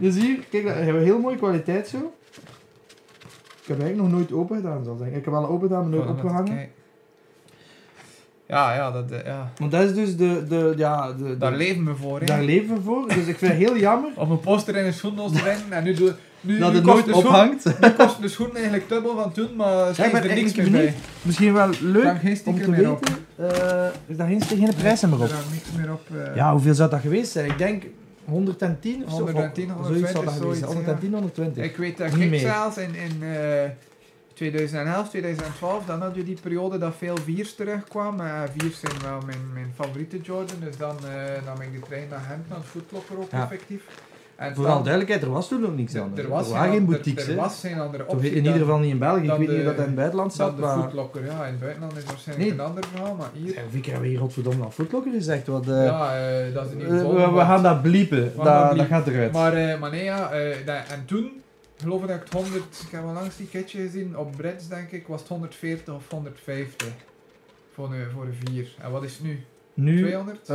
dus hier, kijk, dat hebben we heel mooie kwaliteit zo. Ik heb eigenlijk nog nooit open gedaan, zal ik zeggen. Ik heb wel open gedaan, maar nooit Voilà, met- opgehangen. Oh, kijk. Ja, ja, dat, eh, ja. Want dat is dus de... de, ja, de, de- daar leven we voor. hè. daar leven we voor. Dus ik vind het heel <laughs> jammer Om een poster in een schoendoos te brengen en nu, doe- nu, dat nu het kost dus nooit de schoen <laughs> ophangt. Nu kost de schoen eigenlijk dubbel van toen, maar Ja, ik steeds ben er niks eigenlijk meer bij. Misschien wel Er hangt leuk geen om sticker te meer weten. op. eh, is daar geen, geen prijs meer op? Er hangt niks meer op. eh. Ja, hoeveel zou dat geweest zijn? Ik denk 110 of zo. 110, Zoiets zou dat geweest 120, zijn. zoiets, 110, 120. Ik weet dat Niet ik meer. zelfs in, in eh, 2011, 2012, dan had je die periode dat veel Viers terugkwam. Maar Viers zijn wel mijn, mijn favoriete Jordan, dus dan eh nam ik de trein naar Hemd, naar het voetlokker ook Ja. effectief. En Vooral dan- duidelijkheid, er was toen nog niks er, anders. er was waren geen boutiques. Er, er hè. was geen andere Toch optie. in ieder geval niet in België. Ik dan weet niet de- of dat in het buitenland dan zat. de Maar... voetlokker, ja. In het buitenland is waarschijnlijk Nee. een ander verhaal, maar hier... Ja, Ik heb hier godverdomme al footlocker gezegd. Wat, eh, ja, eh, dat is een eh, nieuw we, we gaan dat bliepen. Dat, gaan dat dat, bliepen. gaat eruit. Maar, eh, maar nee, ja, eh, dat- en toen, geloof ik dat ik het 100, ik heb al langs die kitje gezien, op Brits denk ik, was het 140 of 150 voor een, voor een 4. En wat is het nu? nu eh 200?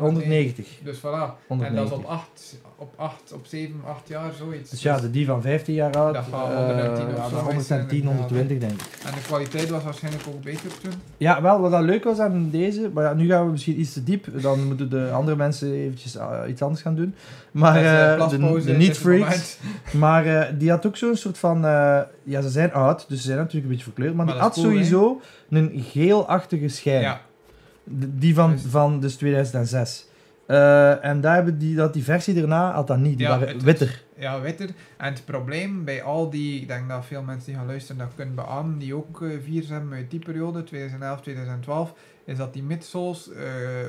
190. Dus voilà. En dat is 190. op 8, op 8, op 7, 8 jaar, zoiets. Dus ja, de die van 15 jaar oud. Dat gaat eh, 110 of ja, dat zo is 110, inderdaad. 120 denk ik. En de kwaliteit was waarschijnlijk ook beter toen. Ja, wel, wat dat leuk was aan deze, maar ja, nu gaan we misschien iets te diep, dan moeten de andere mensen eventjes eh, iets anders gaan doen. Maar Dat is, eh, eh, de, plaspauze de in dit niet-freaks, moment. Maar eh, die had ook zo'n soort van... eh, ja, ze zijn oud, dus ze zijn natuurlijk een beetje verkleurd. Maar, Maar die dat had is cool, hè? sowieso een geelachtige schijn. Ja, De- die van, Juist. van dus 2006. Eh, en daar hebben die, dat die versie daarna had dat niet. Die Ja, waren het- witter. Ja, witter. En het probleem bij al die, ik denk dat veel mensen die gaan luisteren dat kunnen beamen, die ook eh viers hebben uit die periode, 2011, 2012, is dat die midsoles eh,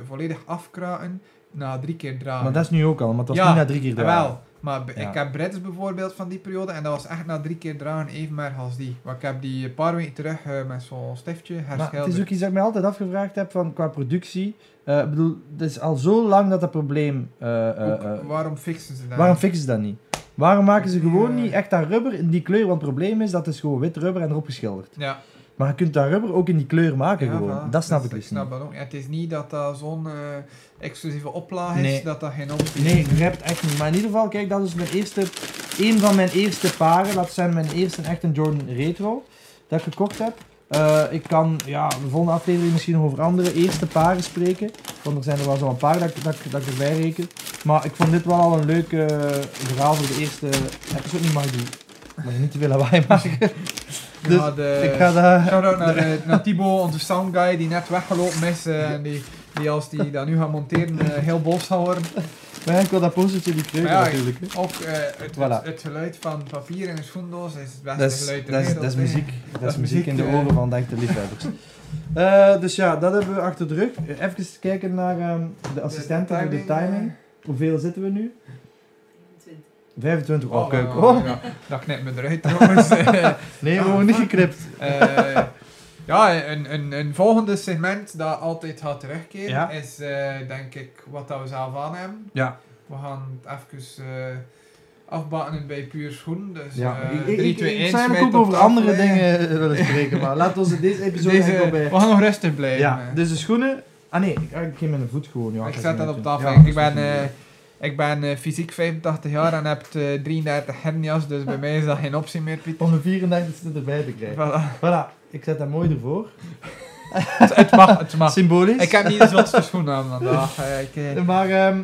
volledig afkraken na drie keer draaien. Maar dat is nu ook al, maar het was Ja, niet na drie keer draaien. Jawel, maar b- Ja. ik heb Brits bijvoorbeeld van die periode en dat was echt na drie keer draaien even erg als die. Want ik heb die een paar weken terug eh, met zo'n stiftje Maar het is herschilderd. ook iets dat ik mij altijd afgevraagd heb van, qua productie. Eh, ik bedoel, het is al zo lang dat dat probleem... eh, eh, Ook, eh, waarom fixen ze dat? waarom niet? fixen ze dat niet? Waarom maken ze gewoon Ja. niet echt dat rubber in die kleur? Want het probleem is, dat is gewoon wit rubber en erop geschilderd. Ja, Maar je kunt dat rubber ook in die kleur maken ja, gewoon. voilà. Dat snap Dus ik dus snap niet. dat ook. niet. Het is niet dat dat zo'n eh, exclusieve oplaag is, Nee. dat dat geen optie Nee, is. je hebt echt niet. Maar in ieder geval, kijk, dat is mijn eerste... Een van mijn eerste paren. Dat zijn mijn eerste echte Jordan Retro. Dat ik gekocht heb. Eh, ik kan, ja, de volgende aflevering misschien nog over andere eerste paren spreken. Want er zijn er wel zo'n paar dat, ik- dat, ik- dat ik erbij reken. Maar ik vond dit wel al een leuk eh, verhaal voor de eerste episode. Niet mag ik doen. Mag je niet te veel lawaai <laughs> maken. Ja, Dus de- ik ga dat... <laughs> Shout-out naar, eh, naar Thibaut, onze sound guy, die net weggelopen is. eh, en die, die als die dat nu gaat monteren, eh, heel boos zal worden. Maar ik wil dat postertje niet kreuken Maar ja, natuurlijk. hè. Ook eh, het, Voilà. het, het geluid van papier in een schoendoos is het beste Dat is, geluid ter dat is, wereld, dat is nee. muziek. Dat, is muziek in de muziek, eh. oren van de liefhebbers. Eh, dus ja, dat hebben we achter de rug. Eh, Even kijken naar ehm, de assistent en de timing. Hoeveel zitten we nu? 25. eh, Oh, kijk. oh, Oh. ja, dat knipt me eruit <laughs> trouwens. Eh, Nee, we worden niet geknipt. eh, <laughs> ja, een, een, een volgende segment dat altijd gaat terugkeren Ja. is eh, denk ik wat dat we zelf aan hebben. Ja. We gaan het even eh afbakken bij puur schoen. Dus, Ja. eh, ik, ik, drie, ik, twee, ik één, zou eigenlijk smijt ook op over tafel, andere eh. dingen eh, willen spreken, maar laten we deze episode Deze- eigenlijk we bij. gaan nog rustig blijven. Ja, eh. dus de schoenen. Ah nee, ik, ik geef mijn voet gewoon. Ja, ik zet dat op tafel. Ja, ik, dat ben, is eh, goed. ik ben eh, fysiek 85 jaar en heb eh, 33 hernias, dus bij mij is dat geen optie meer, <laughs> Piet. Om een 34 erbij te krijgen. eh, Voilà. Voilà, ik zet dat mooi ervoor. het, het mag, het mag. Symbolisch. Ah. Ik heb niet de zotste schoenen aan vandaag. Eh, ik, eh, Maar ehm,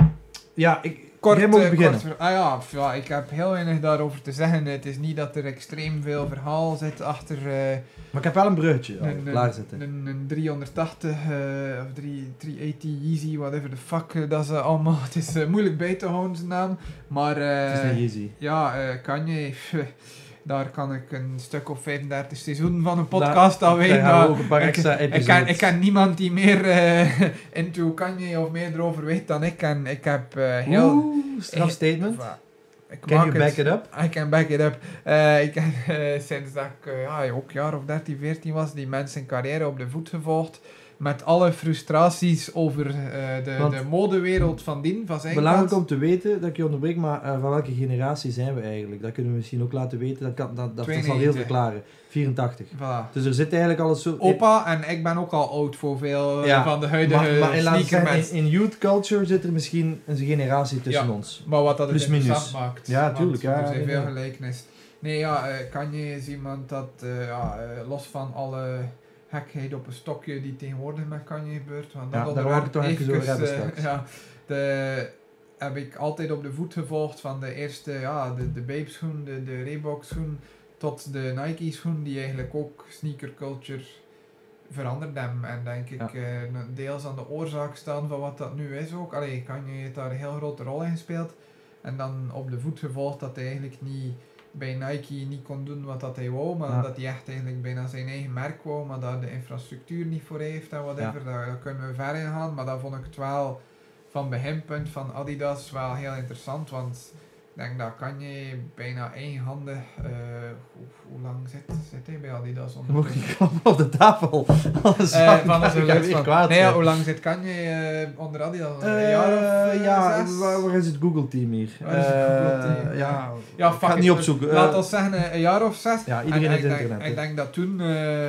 ja, ik, kort, jij mag eh, beginnen. kort- ah ja, f- ja, ik heb heel weinig daarover te zeggen. Het is niet dat er extreem veel verhaal zit achter... eh, Maar ik heb wel een bruggetje al een, klaarzitten. Een, een 380 eh, of 3, 380 Yeezy, whatever the fuck, eh, dat ze allemaal... <laughs> Het is eh, moeilijk bij te houden, zijn naam. Maar... eh, het is een Yeezy. Ja, eh Kanye, daar kan ik een stuk of 35 seizoenen van een Nou, podcast aan Daar weten. gaan maar we ook een paar ik- extra Ik ken, episodes. ik ken niemand die meer eh, <laughs> into Kanye of meer erover weet dan ik. En ik heb eh, heel... Oeh, straf statement. Va- eh, Ik Can maak you het- back it up? I can back it up. Eh, ik heb eh, sinds dat ik eh, ja, ook een jaar of 13, 14 was, die mensen een carrière op de voet gevolgd. Met alle frustraties over eh, de, Want- de modewereld van dien, van zijn Belangrijk kant. om te weten, dat ik je onderbreek, maar eh, van welke generatie zijn we eigenlijk? Dat kunnen we misschien ook laten weten. Dat, kan, dat, dat, dat zal heel 92. verklaren. 84. Voilà. Dus er zit eigenlijk al een soort... Opa en ik ben ook al oud voor veel eh, Ja, van de maar, huidige maar, in, laten we zeggen, sneakermensen. in, in youth culture zit er misschien een generatie tussen Ja. ons. Maar wat dat het Plus minus. interessant maakt. Ja, want tuurlijk, ja, Er zijn veel inderdaad. gelijkenissen. Nee, ja, eh, Kanye is iemand dat, eh, ja, eh, los van alle gekheid op een stokje die tegenwoordig met Kanye gebeurt, want Ja, dat daar wou ik onderwerp het toch even over hebben eh, straks. ja, de, heb ik altijd op de voet gevolgd van de eerste, ja, de, de Bape schoen, de, de Reebok schoen, tot de Nike schoen, die eigenlijk ook sneaker culture veranderd hem. En denk ik Ja. eh, een deels aan de oorzaak staan van wat dat nu is ook. Allee, Kanye heeft daar een heel grote rol in gespeeld. En dan op de voet gevolgd dat hij eigenlijk niet bij Nike niet kon doen wat dat hij wou, maar Ja. dat hij echt eigenlijk bijna zijn eigen merk wou, maar daar de infrastructuur niet voor heeft en whatever, daar, daar kunnen we ver in gaan. Maar dat vond ik het wel van beginpunt van Adidas wel heel interessant, want ik denk dat kan je bijna eenhandig, eh hoe, hoe lang zit, zit hij bij Adidas? Je mag <laughs> niet klappen op de tafel. Anders Eh, <laughs> zou van ik- onze ik ga luid weer van- kwaad Nee, zijn. ja, hoe lang zit kan je eh, onder Adidas? Een Eh, jaar of eh, ja, zes? waar, waar is het Google-team hier? Waar is het Google-team? Eh, ja, Ja, ik fuck ga het it. niet opzoeken. Eh, Laat ons zeggen eh, een jaar of zes. ja, iedereen En heeft ik denk, internet. Ik hè. denk dat toen eh,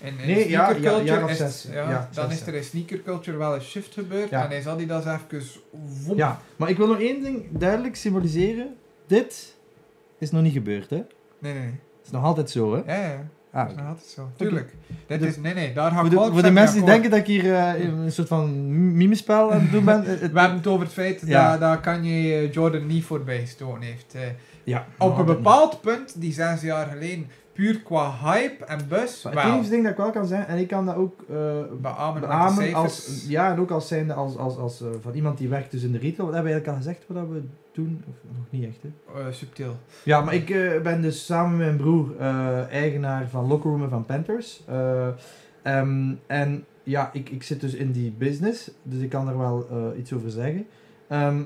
in, in Nee, ja, sneakerculture ja, jaar of is, zes. ja, Ja, dan zes, is er in sneakerculture wel een shift gebeurd Ja. en is Adidas even woem. Ja, maar ik wil nog één ding duidelijk symboliseren. Dit is nog niet gebeurd, hè? Het Nee, nee, nee. is nog altijd zo, hè? Ja, ja, ja. Ah, Dat is nog altijd zo. Tuurlijk. Dit De- is, nee, nee, daar ga voor ik de, wel voor de mee mensen die akkoord. denken dat ik hier eh, een soort van mimespel aan het doen ben. eh, <laughs> het- We hebben het over het feit Ja. dat, dat Kanye eh, Jordan niet voorbij gestoken heeft. eh. ja, op nog een altijd bepaald punt, die zes jaar geleden, puur qua hype en niet. bus, Maar Het wel enige ding dat ik wel kan zijn, en ik kan dat ook eh beamen, met de beamen cijfers. als, ja, en ook als zijnde als, als, als eh, van iemand die werkt dus in de retail. Wat hebben we eigenlijk al gezegd wat we doen? Of nog niet echt, hè? Eh, subtiel. Ja, maar ik eh, ben dus samen met mijn broer eh, eigenaar van Locker Room en van Panthers. Eh, ehm, en ja, ik, ik zit dus in die business, dus ik kan daar wel eh, iets over zeggen. Ehm,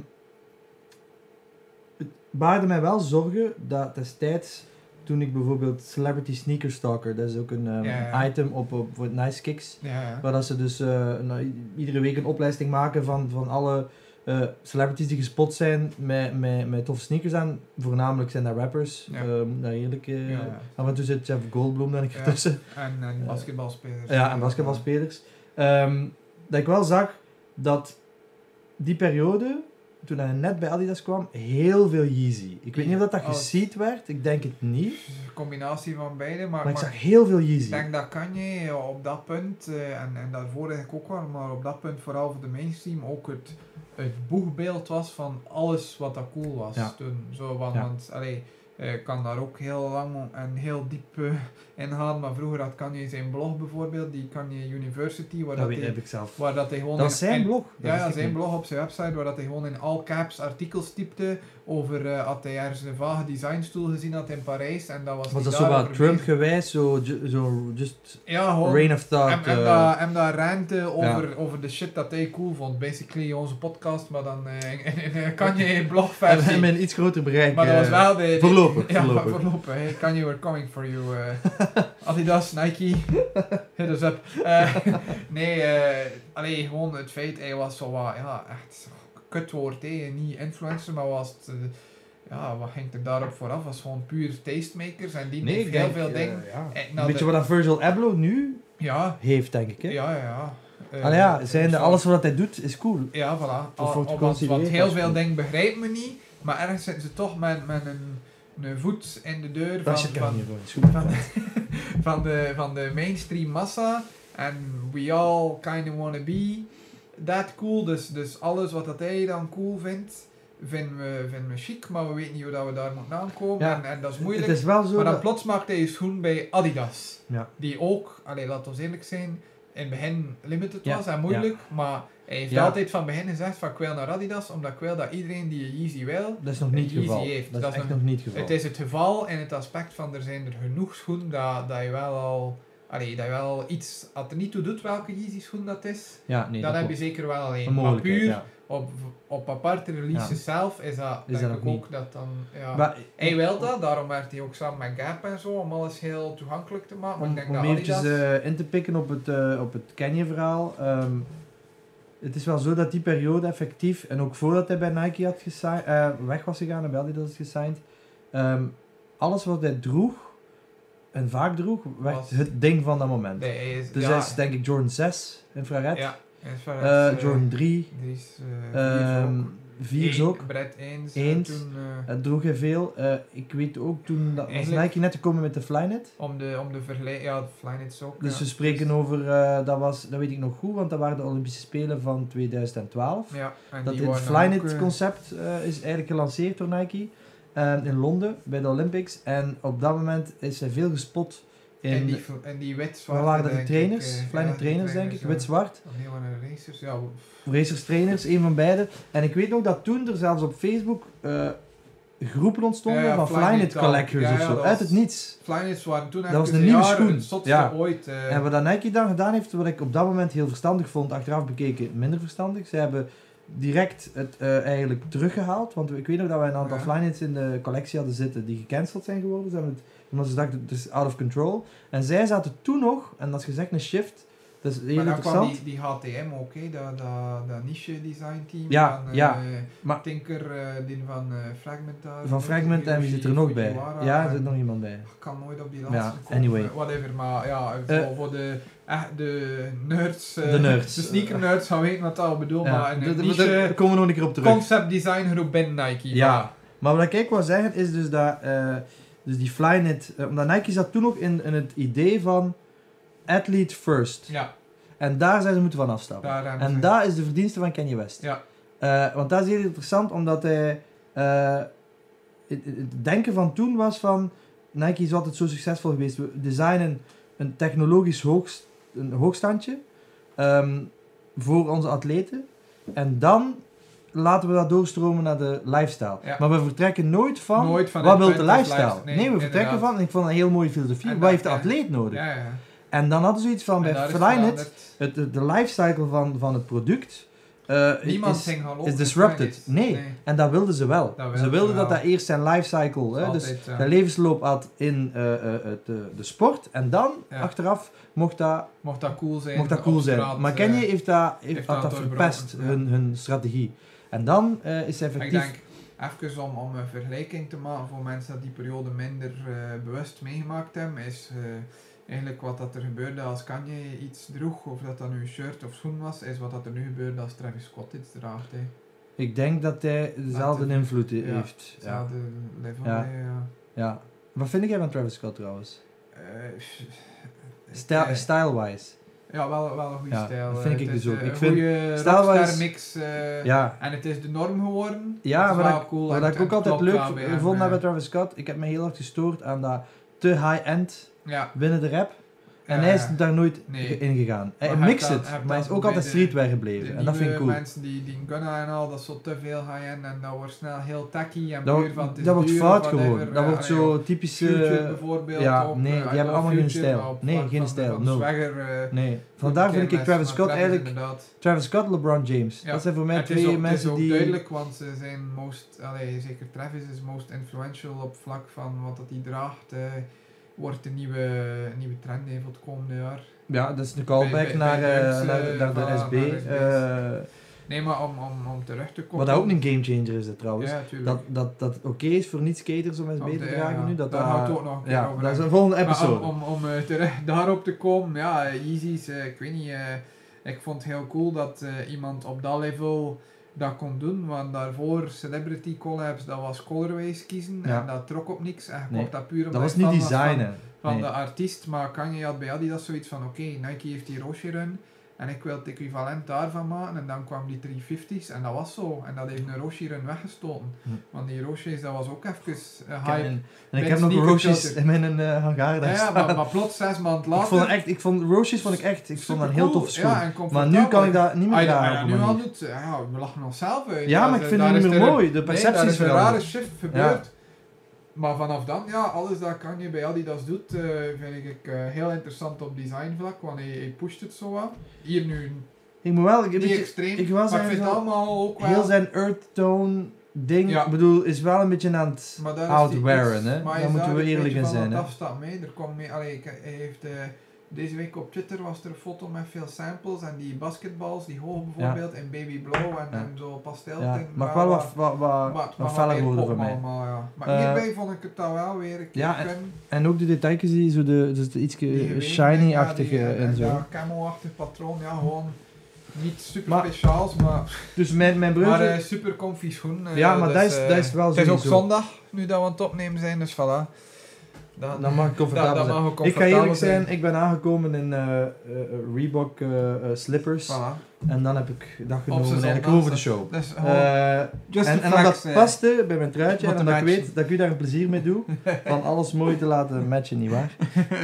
het baarde mij wel zorgen dat destijds, toen ik bijvoorbeeld Celebrity Sneaker Stalker, dat is ook een ehm, Ja, ja. item op, op voor Nice Kicks, Ja, ja. Waar dat ze dus eh, nou, i- iedere week een opleiding maken van, van alle eh, celebrities die gespot zijn met, met, met toffe sneakers aan. Voornamelijk zijn dat rappers. Ja. Eh, moet daar eerlijk. eh, Ja, ja. Af en toe zit Jeff Goldblum daar een keer Ja. tussen. <laughs> En, en Eh, basketbalspelers. Ja, en basketbalspelers. Ehm, dat ik wel zag dat die periode, toen hij net bij Adidas kwam, heel veel Yeezy. Ik weet niet of dat, dat Oh. geseed werd, ik denk het niet. Dus Een combinatie van beide, maar, Maar ik maar zag heel veel ik Yeezy. denk dat Kanye op dat punt, eh, en, en daarvoor eigenlijk ook wel, maar op dat punt vooral voor de mainstream ook het, het boegbeeld was van alles wat dat cool was Ja. toen. Zo, want Ja. want, allee, eh, ik kan daar ook heel lang en heel diep eh, in gaan, maar vroeger had Kanye zijn blog bijvoorbeeld, die Kanye University, Dat waar dat, weet, hij, heb ik zelf. waar dat hij gewoon... Dat in- is zijn in- blog. dat Ja, wist ja, ik zijn niet. blog op zijn website waar dat hij gewoon in all caps artikels typte over eh had hij ergens een vage designstoel gezien had in Parijs en dat was Was hij dat zo wat daarover Trump bezig. gewijs, zo, ju- zo just Ja, gewoon. rain of Hem, thought? hem, eh, daar- hem daar rente over, over de shit dat hij cool vond. Basically onze podcast, maar dan eh, in- in- in- kan je in en hem blogversie. een iets groter bereik. Maar dat was eh, wel de... de- voorlopig, <laughs> Ja, voorlopig. voorlopig. Hey, Kanye, we're coming for you. eh. <laughs> Adidas, Nike, hit us up. Eh, nee, eh, allee, gewoon het feit, hij was zo wat, ja, echt kutwoord, hey, niet influencer, maar was het, eh, ja, wat ging er daarop vooraf? Was gewoon puur tastemakers en die Nee, heeft ik heel denk, veel eh, dingen. ja. eh, Een nou, beetje de- wat dat Virgil Abloh nu Ja, heeft, denk ik. Hè? ja, ja. ja. Eh, Allee, Ah, ja, zijnde zo- alles wat hij doet is cool. Ja, voilà. Of Al- wordt al- want, want geconsidereerd heel als- veel dingen begrijpen me niet, maar ergens zitten ze toch met, met een, een voet in de deur van, Dat shit kan van, niet voor. is goed. van, <laughs> van, de, van de mainstream massa. En we all kind of wanna be that cool. Dus, dus alles wat dat hij dan cool vindt, vinden we, vinden we chic, maar we weten niet hoe dat we daar moeten aankomen. Ja, En, en dat is Het moeilijk. is wel zo. Maar dan dat- plots maakt hij een schoen bij Adidas. Ja. Die ook, allee, laat ons eerlijk zijn, in het begin limited Ja, was en moeilijk. Maar hij heeft Ja. altijd van begin gezegd van ik wil naar Adidas, omdat ik wil dat iedereen die een Yeezy wil. dat is nog niet het Yeezy geval. heeft, Dat is dat is echt nog- nog niet het geval. Het is het geval in het aspect van er zijn er genoeg schoenen dat, dat je wel al... Allee, dat je wel al iets... Als er niet toe doet welke Yeezy schoen dat is, Ja, nee, dan dat heb je klopt. zeker wel alleen. een Maar mogelijkheid. puur ja. op, op aparte releases zelf is dat Is denk dat ik ook ook dat dan... Ja. Maar- Hij wil dat, daarom werkt hij ook samen met Gap en zo, om alles heel toegankelijk te maken. Maar om, ik denk om dat eventjes Adidas... eh, in te pikken op het, eh, op het Kanye-verhaal. ehm, het is wel zo dat die periode effectief, en ook voordat hij bij Nike had gesi- eh, weg was gegaan en bij Adidas had gesigned, ehm, alles wat hij droeg, en vaak droeg, werd Was- het ding van dat moment. nee, hij is, Dus ja, hij is denk ik Jordan 6, infrared, Ja, hij is eh, verder, eh, Jordan 3, die is, eh, ehm, vier ook. 4 is Eén, ook. Brett eens. Eens. Toen, eh, Dat droeg hij veel. Eh, ik weet ook toen dat was Eigenlijk- Nike net gekomen met de Flynet. om de, om de vergelijking... Ja, Flyknits ook. Dus ja. we spreken over, eh, dat, was, dat weet ik nog goed, want dat waren de Olympische Spelen van 2012. Ja, en dat die dit waren ook, eh, Flynet-concept is eigenlijk gelanceerd door Nike eh, in Londen bij de Olympics. En op dat moment is hij veel gespot in. En die, v- en die wit-zwarte... waar waren dat de denk trainers? ik, eh, Flynet ja, die trainers, denk ik. ja. Wit-zwart. Of nee, waren de racers? Ja, w- Racers, trainers, een van beide. En ik weet nog dat toen er zelfs op Facebook eh, groepen ontstonden Ja, ja, van Fly Flyknit Knit collectors of Dog. Ja, ja, zo, dat uit was- het niets. Flyknits waren toen Dat was eigenlijk de in nieuwe jaren schoen. het zotste Ja. ooit. eh. En wat dat Nike dan gedaan heeft, wat ik op dat moment heel verstandig vond, achteraf bekeken minder verstandig. Ze hebben direct het eh, eigenlijk teruggehaald. Want ik weet nog dat wij een aantal Ja. Flyknits in de collectie hadden zitten die gecanceld zijn geworden. Ze hebben het, omdat ze dachten, het is out of control. En zij zaten toen nog, en dat is gezegd een shift, dat is heel maar dan kwam interessant. die, die HTM ook, hè, dat, dat, dat niche design team. Ja, van, eh, ja, maar- Tinker, eh, die van eh Fragment. daar, Van Fragment en wie zit er nog bij? Fujiwara, Ja, en- er zit nog iemand bij. Ik kan nooit op die laatste Ja, komen, anyway. eh, Whatever, maar ja, voor, Eh. voor de, echt de nerds. eh, De nerds. De sneaker nerds gaan weten wat dat bedoel, Ja, maar een dat- dat- niche daar komen we nog een keer op terug. concept design groep binnen Nike. Ja. voilà. Maar wat ik eigenlijk wil zeggen is dus dat eh, dus die Flynet, eh, omdat Nike zat toen ook in, in het idee van athlete first. Ja, En daar zijn ze moeten van afstappen. daar hebben ze- En dat is de verdienste van Kanye West. Ja. Eh, want dat is heel interessant, omdat hij... eh, het, het- het denken van toen was van... Nike is altijd zo succesvol geweest. We designen een technologisch hoogst, een hoogstandje ehm, voor onze atleten. En dan laten we dat doorstromen naar de lifestyle. Ja. Maar we vertrekken nooit van... Nooit van wat het wil de fitness lifestyle? lifestyle. Nee, Nee, we vertrekken inderdaad. van... Ik vond dat een heel mooie filosofie. En Wat dat- heeft de ja. atleet nodig? ja, ja. En dan hadden ze iets van En bij daar is Flyknit veranderd. het, het- de lifecycle van, van het product eh, Niemand is, ging hallo. is disrupted. Nee. en dat wilden ze wel. wilden ze ze wilden wel. dat dat eerst zijn lifecycle, hè, dus Altijd, ja. de levensloop had in eh, eh, het, eh, de sport en dan Ja. achteraf mocht dat, Mocht dat cool zijn. mocht dat op cool straat, zijn. Maar eh, Kanye heeft dat, heeft, heeft had dat dat doorbroken, verpest, ja. hun, hun strategie. En dan eh, is hij Ik effectief... denk, even om, om een vergelijking te maken voor mensen dat die periode minder eh, bewust meegemaakt hebben, is eh, eigenlijk wat dat er gebeurde als Kanye iets droeg, of dat dat nu een shirt of schoen was, is wat dat er nu gebeurde als Travis Scott iets draagt. hè. Ik denk dat hij dezelfde het- invloed ja. heeft. Ja. Hetzelfde level. Ja. hè, ja. ja. Wat vind jij van Travis Scott trouwens? Eh, Style- eh, Style-wise. ja, wel, wel een goede Ja, stijl. dat eh. vind Het ik is, dus ook. eh, Ik een vind- goede stijlwijs- rockstar mix. eh, ja. En het is de norm geworden. Ja, Dat is wat wel ik- cool en Wat het- ik ook het altijd klopt leuk wel bij hem, vond eh. bij Travis Scott, ik heb me heel erg gestoord aan dat te high-end Ja. binnen de rap. En ja, hij is ja. daar nooit Nee. in gegaan. Hij Maar hij mixt heeft het, dan- hij heeft maar hij dan is zo ook bij altijd de- streetwear De gebleven. En dat nieuwe vind ik cool. mensen die, die gunna en al, dat is zo te veel high-end en dat wordt snel heel tacky en Dat, puur van het is dat wordt duur, fout whatever. gewoon. Dat Eh, wordt allee, op zo typisch... eh, Future bijvoorbeeld. ja, op, nee, eh, die I hebben Love allemaal geen Future, stijl. maar op Nee, vlak geen van- stijl, Van nul. Swagger, eh, Nee, vandaar Kim vind ik met- Travis met Scott Travis eigenlijk... inderdaad. Travis Scott, LeBron James. Ja. Dat zijn voor En mij het is twee ook, het is mensen ook die... duidelijk, want ze zijn most, allee, zeker Travis is most influential op vlak van wat dat hij draagt. eh, wordt een nieuwe, een nieuwe trend hè, voor het komende jaar. Ja, dat is de Bij- callback bij- naar, bij eh, Dukes, naar, eh, naar de voilà, SB. naar SB's. eh, Nee, maar om, om, om terug te Wat komen. dat ook een gamechanger is, hè, trouwens. Ja, tuurlijk. Dat, dat, dat het oké is voor niet-skaters om SB Op de- te dragen ja, nu. Dat Oh, daar dat- houdt ook nog een keer Ja, over dat is uit. een volgende Maar episode. om om, om eh, terug daarop te <laughs> komen, ja, eh, Yeezys, eh, ik weet niet, eh, ik vond het heel cool dat eh, iemand op dat level dat kon doen, want daarvoor celebrity collabs, dat was colorways kiezen Ja. en dat trok op niks. En je Nee, kocht dat puur omdat dat was je niet fan van- designen. van Nee. de artiest, maar Kanye had bij Adidas zoiets van, oké, Nike heeft die roosje run en ik wil het equivalent daarvan maken en dan kwam die 350's en dat was zo en dat heeft een roosje run weggestoten, Hm. want die roosjes, dat was ook even eh, Ik heb een- hype. en Bij ik heb nog sneaker Roosjes culture. in mijn eh, hangar Ja, daar ja, staan. maar, maar plots zes maanden later. ik vond, echt, ik vond Roosjes vond ik echt ik vond dat een heel supercool. toffe schoen. Ja, en maar nu kan ik dat niet meer Als je dat- als je dragen. dat op nu een al manier. doet, ja, we lachen onszelf uit. Ja, Dat maar ik is- vind daar het niet is meer er een- mooi. De nee, daar percepties is een rare veranderen. shift gebeurd. Maar vanaf dan, ja, alles dat Kanye bij Adidas doet, eh, vind ik eh, heel interessant op designvlak, want hij, hij pusht het zo wat. Hier nu Ik moet wel... Ik, een niet beetje- extreem, ik wil maar ik zeggen vind het zo- allemaal ook wel... heel zijn earth tone ding, Ja. ik bedoel, is wel een beetje aan het... Maar daar Out is die wearing, iets- hè. maar Daar hij is moeten we een eerlijk beetje in van zijn, aan hè. het afstappen, hè. Er komt mee, allee, ik- hij heeft eh, deze week op Twitter was er een foto met veel samples en die basketballs, die hoog bijvoorbeeld, en baby blow en, Ja. en zo pastel. Ja, ding, mag wel wat, wat, maar- wat, maar- wat maar feller meer worden pop voor mij. allemaal, ja. Maar Eh, hierbij vond ik het dan wel weer een keer ja, en- kunnen. En ook de detailjes die zo de, dus de iets Die wegen, shiny-achtige ja, die- en zo. Ja, camo-achtig patroon, ja, gewoon niet super Maar- speciaals, maar, Dus mijn, mijn broer... maar eh, super comfy schoen. eh, ja, maar dat, is, eh, dat is wel Het is ook sowieso. zondag, nu dat we aan het opnemen zijn, dus voilà. Dan, Dan mag ik comfortabel dan, zijn. mag Ik ga eerlijk zijn, ik ben aangekomen in eh, eh, eh, Reebok eh, eh, slippers. Voilà. En dan heb ik dat genomen zondag, eigenlijk over de zeg. show. Dus Eh, gewoon just en, to en dat flex, dat eh. paste bij mijn truitje en Wat te omdat ik matchen. weet dat ik u daar een plezier <laughs> mee doe, van alles mooi te laten matchen, nietwaar?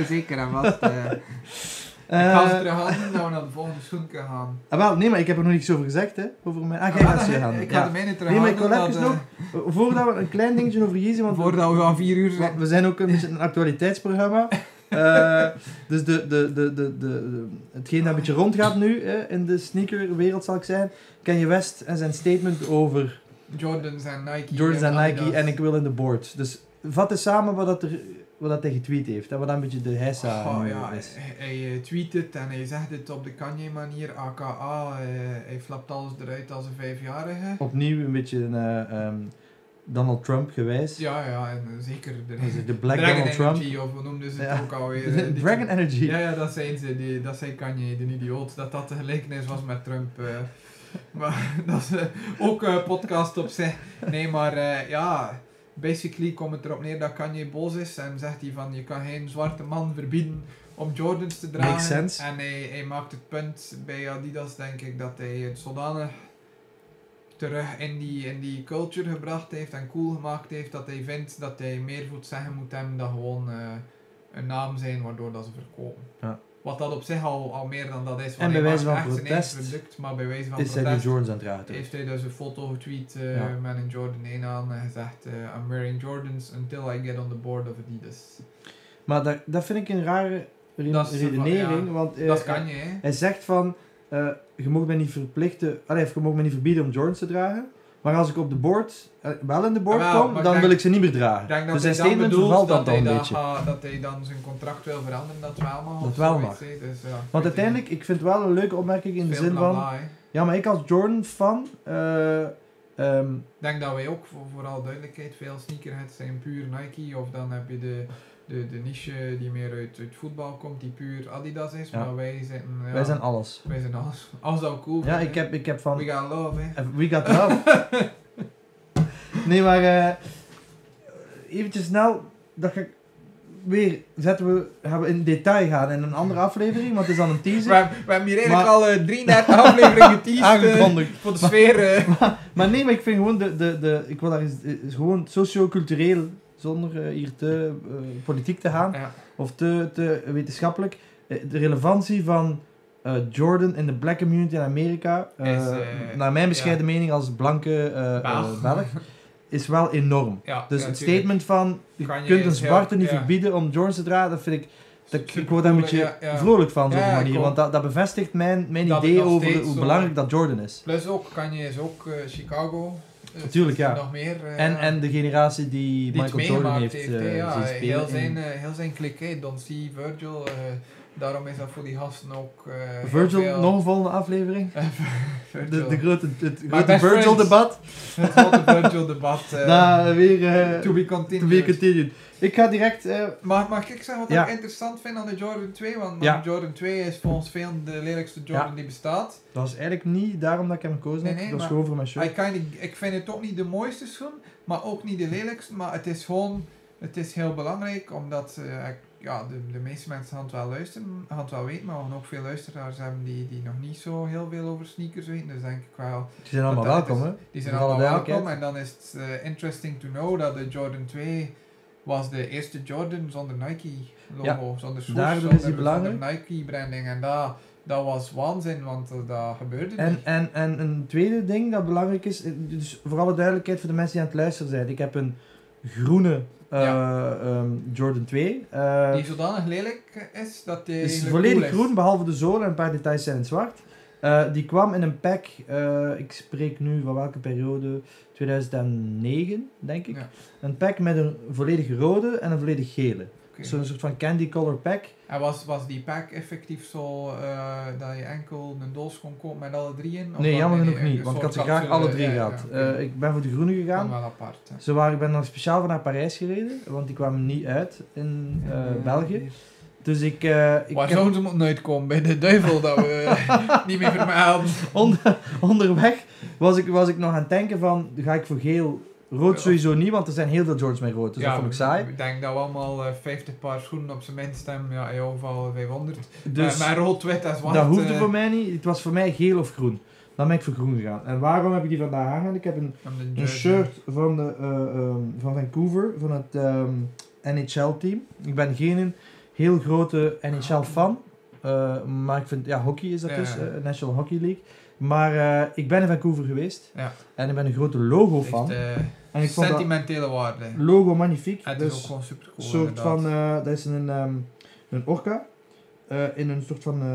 Zeker en vast. eh. ik ga ze Eh, terug halen, dat we naar de volgende schoenke gaan. ah, wel, nee, maar ik heb er nog niks over gezegd, hè. Over mijn... Ah, jij Ah, gaat dan- ze gaan. Ik ja. ga de mijne terug Nee, maar ik halen, wil even dat, eh, nog, voordat we een klein dingetje over Yeezy, want Voordat we gaan vier uur zijn. Want we zijn ook een, beetje een <laughs> actualiteitsprogramma. Eh, dus de, de, de, de, de, hetgeen dat een beetje rondgaat nu hè, in de sneakerwereld zal ik zeggen. Kanye West en zijn statement over Jordans en Nike. Jordans en Nike Adidas. en ik wil in de board. Dus vat eens samen wat, dat er, wat dat hij getweet heeft. En wat dan een beetje de heisa Oh, nu ja, is. hij, hij eh, tweet het en hij zegt het op de Kanye manier, aka eh, hij flapt alles eruit als een vijfjarige. Opnieuw een beetje een, eh, ehm, Donald Trump gewijs. Ja, ja, en eh, zeker de, Hij is De Black Dragon Donald Trump. Energy, of hoe noemden ze het Ja. ook <laughs> alweer. eh, die- Dragon Energy. Ja, ja, dat zijn ze, die, dat zei Kanye, de idioot, dat dat de gelijkenis was met Trump. eh. <laughs> maar dat is eh, ook een podcast op zich. Nee, maar eh, ja, basically komt het erop neer dat Kanye boos is en zegt hij van je kan geen zwarte man verbieden om Jordans te dragen. Makes sense. En hij, hij maakt het punt bij Adidas, denk ik, dat hij het zodanig terug in die, in die culture gebracht heeft en cool gemaakt heeft, dat hij vindt dat hij meer moet zeggen moet hebben dan gewoon eh, een naam zijn waardoor dat ze verkopen. Ja. Wat dat op zich al, al meer dan dat is. want En hij bij wijze maakt van echt zijn protest eigen product, maar bij wijze van Is hij dus die protest Jordans aan het dragen? heeft hij dus een foto getweet eh, Ja. met een Jordan 1 aan en gezegd eh, I'm wearing Jordans until I get on the board of Adidas. Maar dat, dat vind ik een rare re- Dat is- redenering. ja. want, eh, dat kan je, hè. Hij zegt van, eh, je mag mij niet verplichten, allee, of je mag mij niet verbieden om Jordans te dragen. Maar als ik op de board, eh, wel in de board Ah, wel, kom, maar dan ik denk- wil ik ze niet meer Ik dragen. denk dat dus hij zijn dan statement bedoelt vervalt dat dat, dan hij een dan beetje. gaat- dat hij dan zijn contract wil veranderen, dat wel mag. Dat of wel zoiets, mag. hè. Dus, ja, Want uiteindelijk, ik vind het wel een leuke opmerking in de zin van... Ja, maar ik als Jordan-fan... eh, ehm, Ik denk dat wij ook, voor, vooral duidelijkheid, veel sneakerheads zijn puur Nike. Of dan heb je de, de, de niche die meer uit, uit voetbal komt, die puur Adidas is. Ja. Maar wij zijn, ja, Wij zijn alles. wij zijn alles, alles dat we cool Ja, vinden, ik heb, ik heb hè. van... We got love, hè. We got <laughs> love. nee, maar eh eventjes snel, dat ik weer zetten we, gaan we in detail gaan in een andere aflevering, want het is dan een We, teaser. hebben- we hebben hier eigenlijk Maar- al eh, 33 <laughs> afleveringen geteased eh, Aangekondigd. voor de sfeer. eh. Maar nee, maar ik vind gewoon de, de, de ik wil daar eens, is gewoon socio-cultureel, zonder eh, hier te eh, politiek te gaan Ja. of te, te wetenschappelijk, eh, de relevantie van eh, Jordan in de black community in Amerika, eh, Is, eh, naar mijn bescheiden mening als blanke eh, eh, Belg. Belg, is wel enorm. Ja, Dus ja, het tuurlijk. statement van je Kan je kunt een eens heel- zwarte niet ja. verbieden om Jordans te dragen, dat vind ik. Dat, ik- ik Supercool, word daar een beetje ja, ja. vrolijk van, op zo'n Ja, ja, manier. klopt. Want dat, dat bevestigt mijn, mijn Dat het idee nog over steeds hoe zo- belangrijk dat Jordan is. Plus ook, Kanye is ook eh, Chicago. Eh, Natuurlijk, ja. Nog meer. eh, En, en de generatie die, die het Michael Jordan meegemaakt heeft, heeft. eh, hè, ja, zien spelen. heel, zijn, En eh, heel zijn klik, hè, Don C, Virgil. eh, daarom is dat voor die gasten ook. eh, heel Virgil, veel- nog een volgende aflevering. De, Virgil. de grote, het Maar grote best friends. Virgil-debat. <laughs> Het grote Virgil-debat. <laughs> eh, Daar weer eh, to be to be continued. continued. Ik ga direct... eh, Mag, mag ik zeggen wat Ja. ik interessant vind aan de Jordan 2? Want Ja. de Jordan 2 is volgens veel de lelijkste Jordan Ja. die bestaat. dat is eigenlijk niet daarom dat ik hem gekozen Nee, heb. nee, dat is maar- gewoon voor mijn show. I kinda- ik vind het ook niet de mooiste schoen, maar ook niet de lelijkste. Maar het is gewoon, het is heel belangrijk, omdat eh, ik- ja, de, de meeste mensen gaan het wel luisteren, gaan het wel weten. Maar we gaan ook veel luisteraars hebben die, die nog niet zo heel veel over sneakers weten. Dus denk ik wel, Die zijn allemaal dat- dat welkom, is- hè. die zijn Voor alle allemaal duidelijkheid. welkom. En dan is het eh, interesting to know dat de Jordan 2 was de eerste Jordan zonder Nike logo, zonder swoosh, daardoor is die zonder, belangrijk. zonder Nike branding. En dat, dat was waanzin, want eh, dat gebeurde En, niet. en, en een tweede ding dat belangrijk is, eh, dus voor alle duidelijkheid voor de mensen die aan het luisteren zijn. Ik heb een groene eh, ehm, Jordan 2. Eh, Die zodanig lelijk is dat die is eigenlijk Dus volledig cool is. groen, behalve de zolen en een paar details zijn in zwart. Eh, die kwam in een pack, eh, ik spreek nu van welke periode, 2009 denk ik. Ja. Een pack met een volledig rode en een volledig gele. Oké. Zo'n soort van candy color pack. En was, was die pack effectief zo eh, dat je enkel een doos kon kopen met alle drie in? Of nee, was- jammer genoeg een niet, want ik had ze soort graag capsule, alle drie ja, ja, gehad. oké. Eh, ik ben voor de groene Kan gegaan. wel apart. hè. Ze waren, ik ben dan speciaal van naar Parijs gereden, want die kwamen niet uit in eh, Eh, België. Dus ik, eh, ik Waar heb zouden ze moeten uitkomen? Bij de duivel dat <laughs> we niet meer vermelden. onder- onderweg was ik, was ik nog aan het denken van, ga ik voor geel? Rood Ja. sowieso niet, want er zijn heel veel George met rood, dus dat vond ik saai. Ik denk dat we allemaal eh, 50 paar schoenen op zijn minst hebben. Ja, in jouw geval 500. Dus maar, maar rood, wit en zwart. dat hoefde eh, voor mij niet. Het was voor mij geel of groen. Dan ben ik voor groen gegaan. En waarom heb ik die vandaag hangen? Ik heb een, om de eh, een jersey. shirt van, de, eh, ehm, van Vancouver, van het ehm, NHL-team. Ik ben geen heel grote NHL-fan. Eh, maar ik vind, ja, hockey is dat Ja, dus, ja. eh, National Hockey League. Maar eh, ik ben in Vancouver geweest Ja. en ik ben een grote Het heeft, logo-fan. eh, En ik vond dat sentimentele waarde. En logo magnifiek. het dus is ook gewoon super een cool. soort van, eh, dat is een, ehm, een orka eh, in een soort van eh,